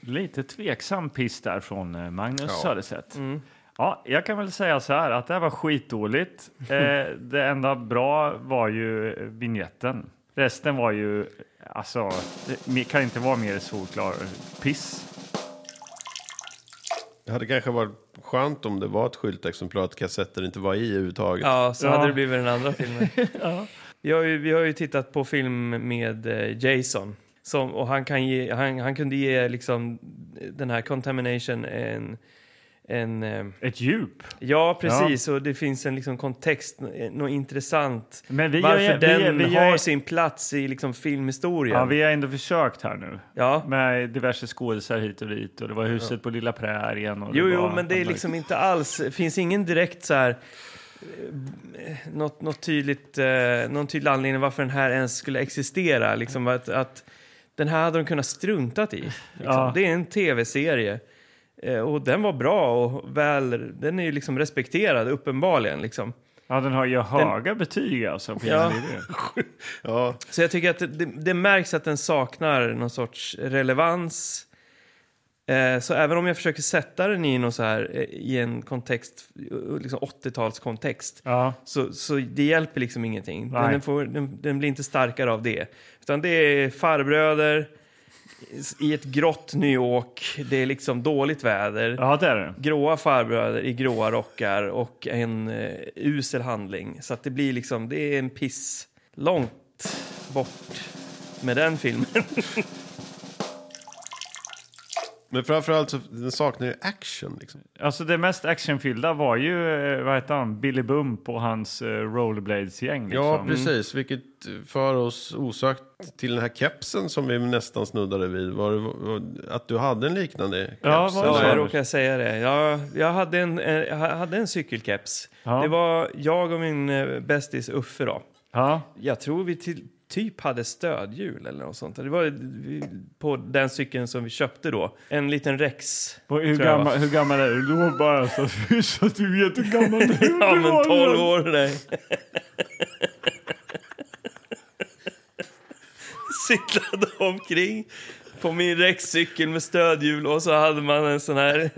A: Lite tveksam piss där från eh, Magnus Söderstedt.
B: Mm.
A: Ja, jag kan väl säga så här att det här var
B: [laughs]
A: skitdåligt. Eh, det enda bra var ju eh, vignetten. Resten var ju, alltså, det kan inte vara mer solklar piss.
C: Det hade kanske varit skönt om det var ett skyltexemplar att kassetter inte var i överhuvudtaget.
B: Ja, så
A: Ja.
B: hade det blivit den
A: [laughs]
B: andra filmen. vi, har ju, vi har ju tittat på film med eh, Jason. Som, och han, kan ge, han, han kunde ge liksom, den här Contamination en... en eh,
A: Ett djup.
B: ja, precis. Och det finns en liksom, kontext, eh, något intressant.
A: Men vi
B: Varför
A: gör ju- vi-
B: den
A: vi gör-
B: har sin plats i liksom, filmhistorien.
A: Ja, vi har ändå försökt här nu.
B: Ja.
A: Med diverse skådisar hit och dit och det var huset på Lilla Prärien. Och
B: Jo,
A: det
B: jo,
A: var,
B: men det är liksom inte alls, finns ingen direkt så här, eh, något, något tydligt, eh, någon tydlig anledning varför den här ens skulle existera. Liksom att, att den här hade de kunnat struntat i. Liksom.
A: Ja.
B: Det är en tv-serie. Eh, och den var bra och väl, den är ju liksom respekterad uppenbarligen. Liksom.
A: Ja, den har ju höga betyg alltså. På
B: Ja.
A: IMDb.
C: Ja,
B: Så jag tycker att det, det, det märks att den saknar någon sorts relevans. Eh, Så även om jag försöker sätta den i, någon så här, eh, i en kontext, eh, liksom 80-talskontext,
A: Ja.
B: så, så det hjälper liksom ingenting. Den,
A: Nej.
B: den, får, den, den blir inte starkare av det. Utan det är farbröder i ett grått New York, det är liksom dåligt väder.
A: ja, det är det.
B: Gråa farbröder i gråa rockar och en eh, usel handling. Så att det blir liksom, det är en piss långt bort med den filmen.
C: Men framförallt så den saknar ju action. Liksom.
A: Alltså det mest actionfyllda var ju, eh, vad heter han, Billy Bump och hans eh, Rollerblades-gäng. Liksom.
C: Ja, precis. Vilket för oss osökt till den här kepsen som vi nästan snuddade vid. Var det, var, att du hade en liknande keps?
A: Ja, vad-
B: Ja,
A: Eller?
B: [laughs] jag råkade säga det. Jag, jag, hade en, eh, jag hade en cykelkeps.
A: Ja.
B: Det var jag och min eh, bästis Uffe. Då.
A: Ja.
B: Jag tror vi till, typ hade stödhjul eller något sånt. Det var eh, vi- på den cykeln som vi köpte då. En liten Rex.
A: Och hur,
B: tror jag, va?
A: gammal, hur gammal är du då? Bara så [laughs] att, så att du vet hur gammal du är.
B: [laughs] Ja, men 12 år. Nej. Cyklade omkring på min räckcykel med stödhjul och så hade man en sån här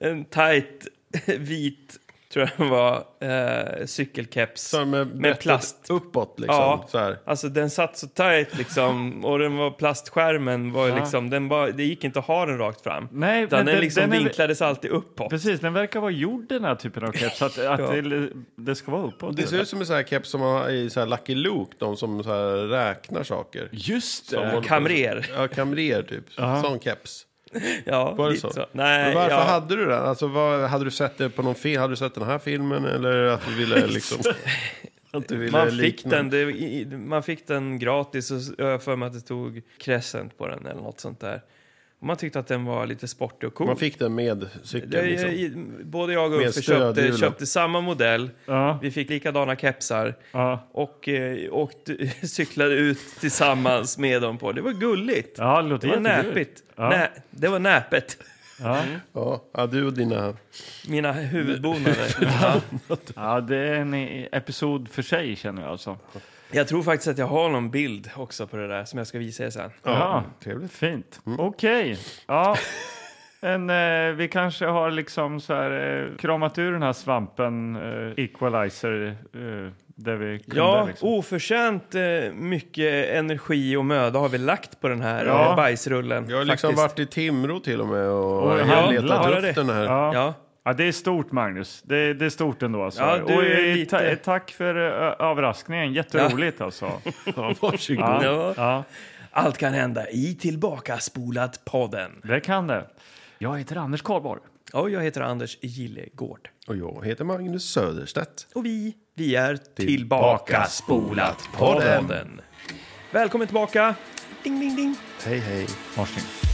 B: en tight vit, tror jag den var, eh, cykelkeps.
C: Så här med, brättet
B: plast.
C: uppåt liksom.
B: Ja.
C: Så här.
B: Alltså den satt så tight liksom och den var plastskärmen var ju liksom, den bara, det gick inte att ha den rakt fram.
A: Nej,
B: Utan
A: men
B: den
A: den-
B: liksom
A: den är-
B: vinklades alltid uppåt.
A: Precis, den verkar vara gjord den här typen av keps. Att, att
B: [laughs] Ja.
A: det, det ska vara uppåt.
C: Det ser ut som en sån här keps som man har i så här Lucky Luke, de som så här räknar saker.
A: Just
C: Som
A: det!
C: håller på-
B: kamrer.
C: Ja, kamrer typ. Sån keps.
B: Ja,
C: Var det
B: lite
C: så?
B: Nej,
C: Men varför
B: ja.
C: hade du den? Alltså, vad, hade du sett det på någon film? Hade du sett den här filmen? Eller att du
B: [laughs]
C: ville liksom... att du [laughs] ville
B: Man fick,
C: likna-
B: den, det, i, i- man fick den gratis och s- jag har för mig att det tog Crescent på den eller något sånt där. Och man tyckte att den var lite sportig och cool.
C: Man fick den med cykeln
B: det,
C: liksom.
B: i- Både jag och
C: Med
B: Uffe köpte,
C: stödhjulen.
B: köpte samma modell.
A: Ja.
B: Vi fick likadana kepsar
A: Ja.
B: och eh, åkte, [laughs] cyklade ut tillsammans med dem på. Det var gulligt.
A: Ja, det låter
B: det var
A: jättegulligt.
B: näpigt.
A: Ja.
B: Nä, det var näpet.
C: Ja, ja, du och dina...
B: Mina huvudbonader. ja.
A: [laughs] Ja, det är en eh, episod för sig känner jag alltså.
B: Jag tror faktiskt att jag har någon bild också på det där som jag ska visa er sen.
A: Ja,
C: trevligt.
A: fint. Okej. Ja. En, eh, vi kanske har liksom så här, eh, kramat ur den här svampen, eh, equalizer, eh, där vi kunde.
B: Ja, oh,
A: liksom.
B: oförtjänt eh, mycket energi och möda har vi lagt på den här
A: Ja.
B: eh, bajsrullen.
C: Jag har liksom
B: faktiskt.
C: varit i Timrå till och med och,
A: Och
C: jag
A: handla,
C: letat
B: har
C: upp
B: det?
C: den här.
A: ja. Ja.
B: Ja.
A: det är stort, Magnus. Det, det är stort ändå. Alltså.
B: Ja, du
A: och,
B: är
A: eh,
B: lite-
A: ta- tack för eh, överraskningen. Jätteroligt, alltså.
C: Ja, varsågod.
A: Ja.
B: Ja.
A: Ja,
B: Allt kan hända i Tillbakaspolat-podden.
A: det kan det. Jag heter Anders Karlborg.
B: Och jag heter Anders Gillegård.
C: Och jag heter Magnus Söderstedt.
B: Och vi, vi är Tillbakaspolat-podden. Välkommen tillbaka! Ding, ding, ding.
C: Hej, hej.
A: Varsågod.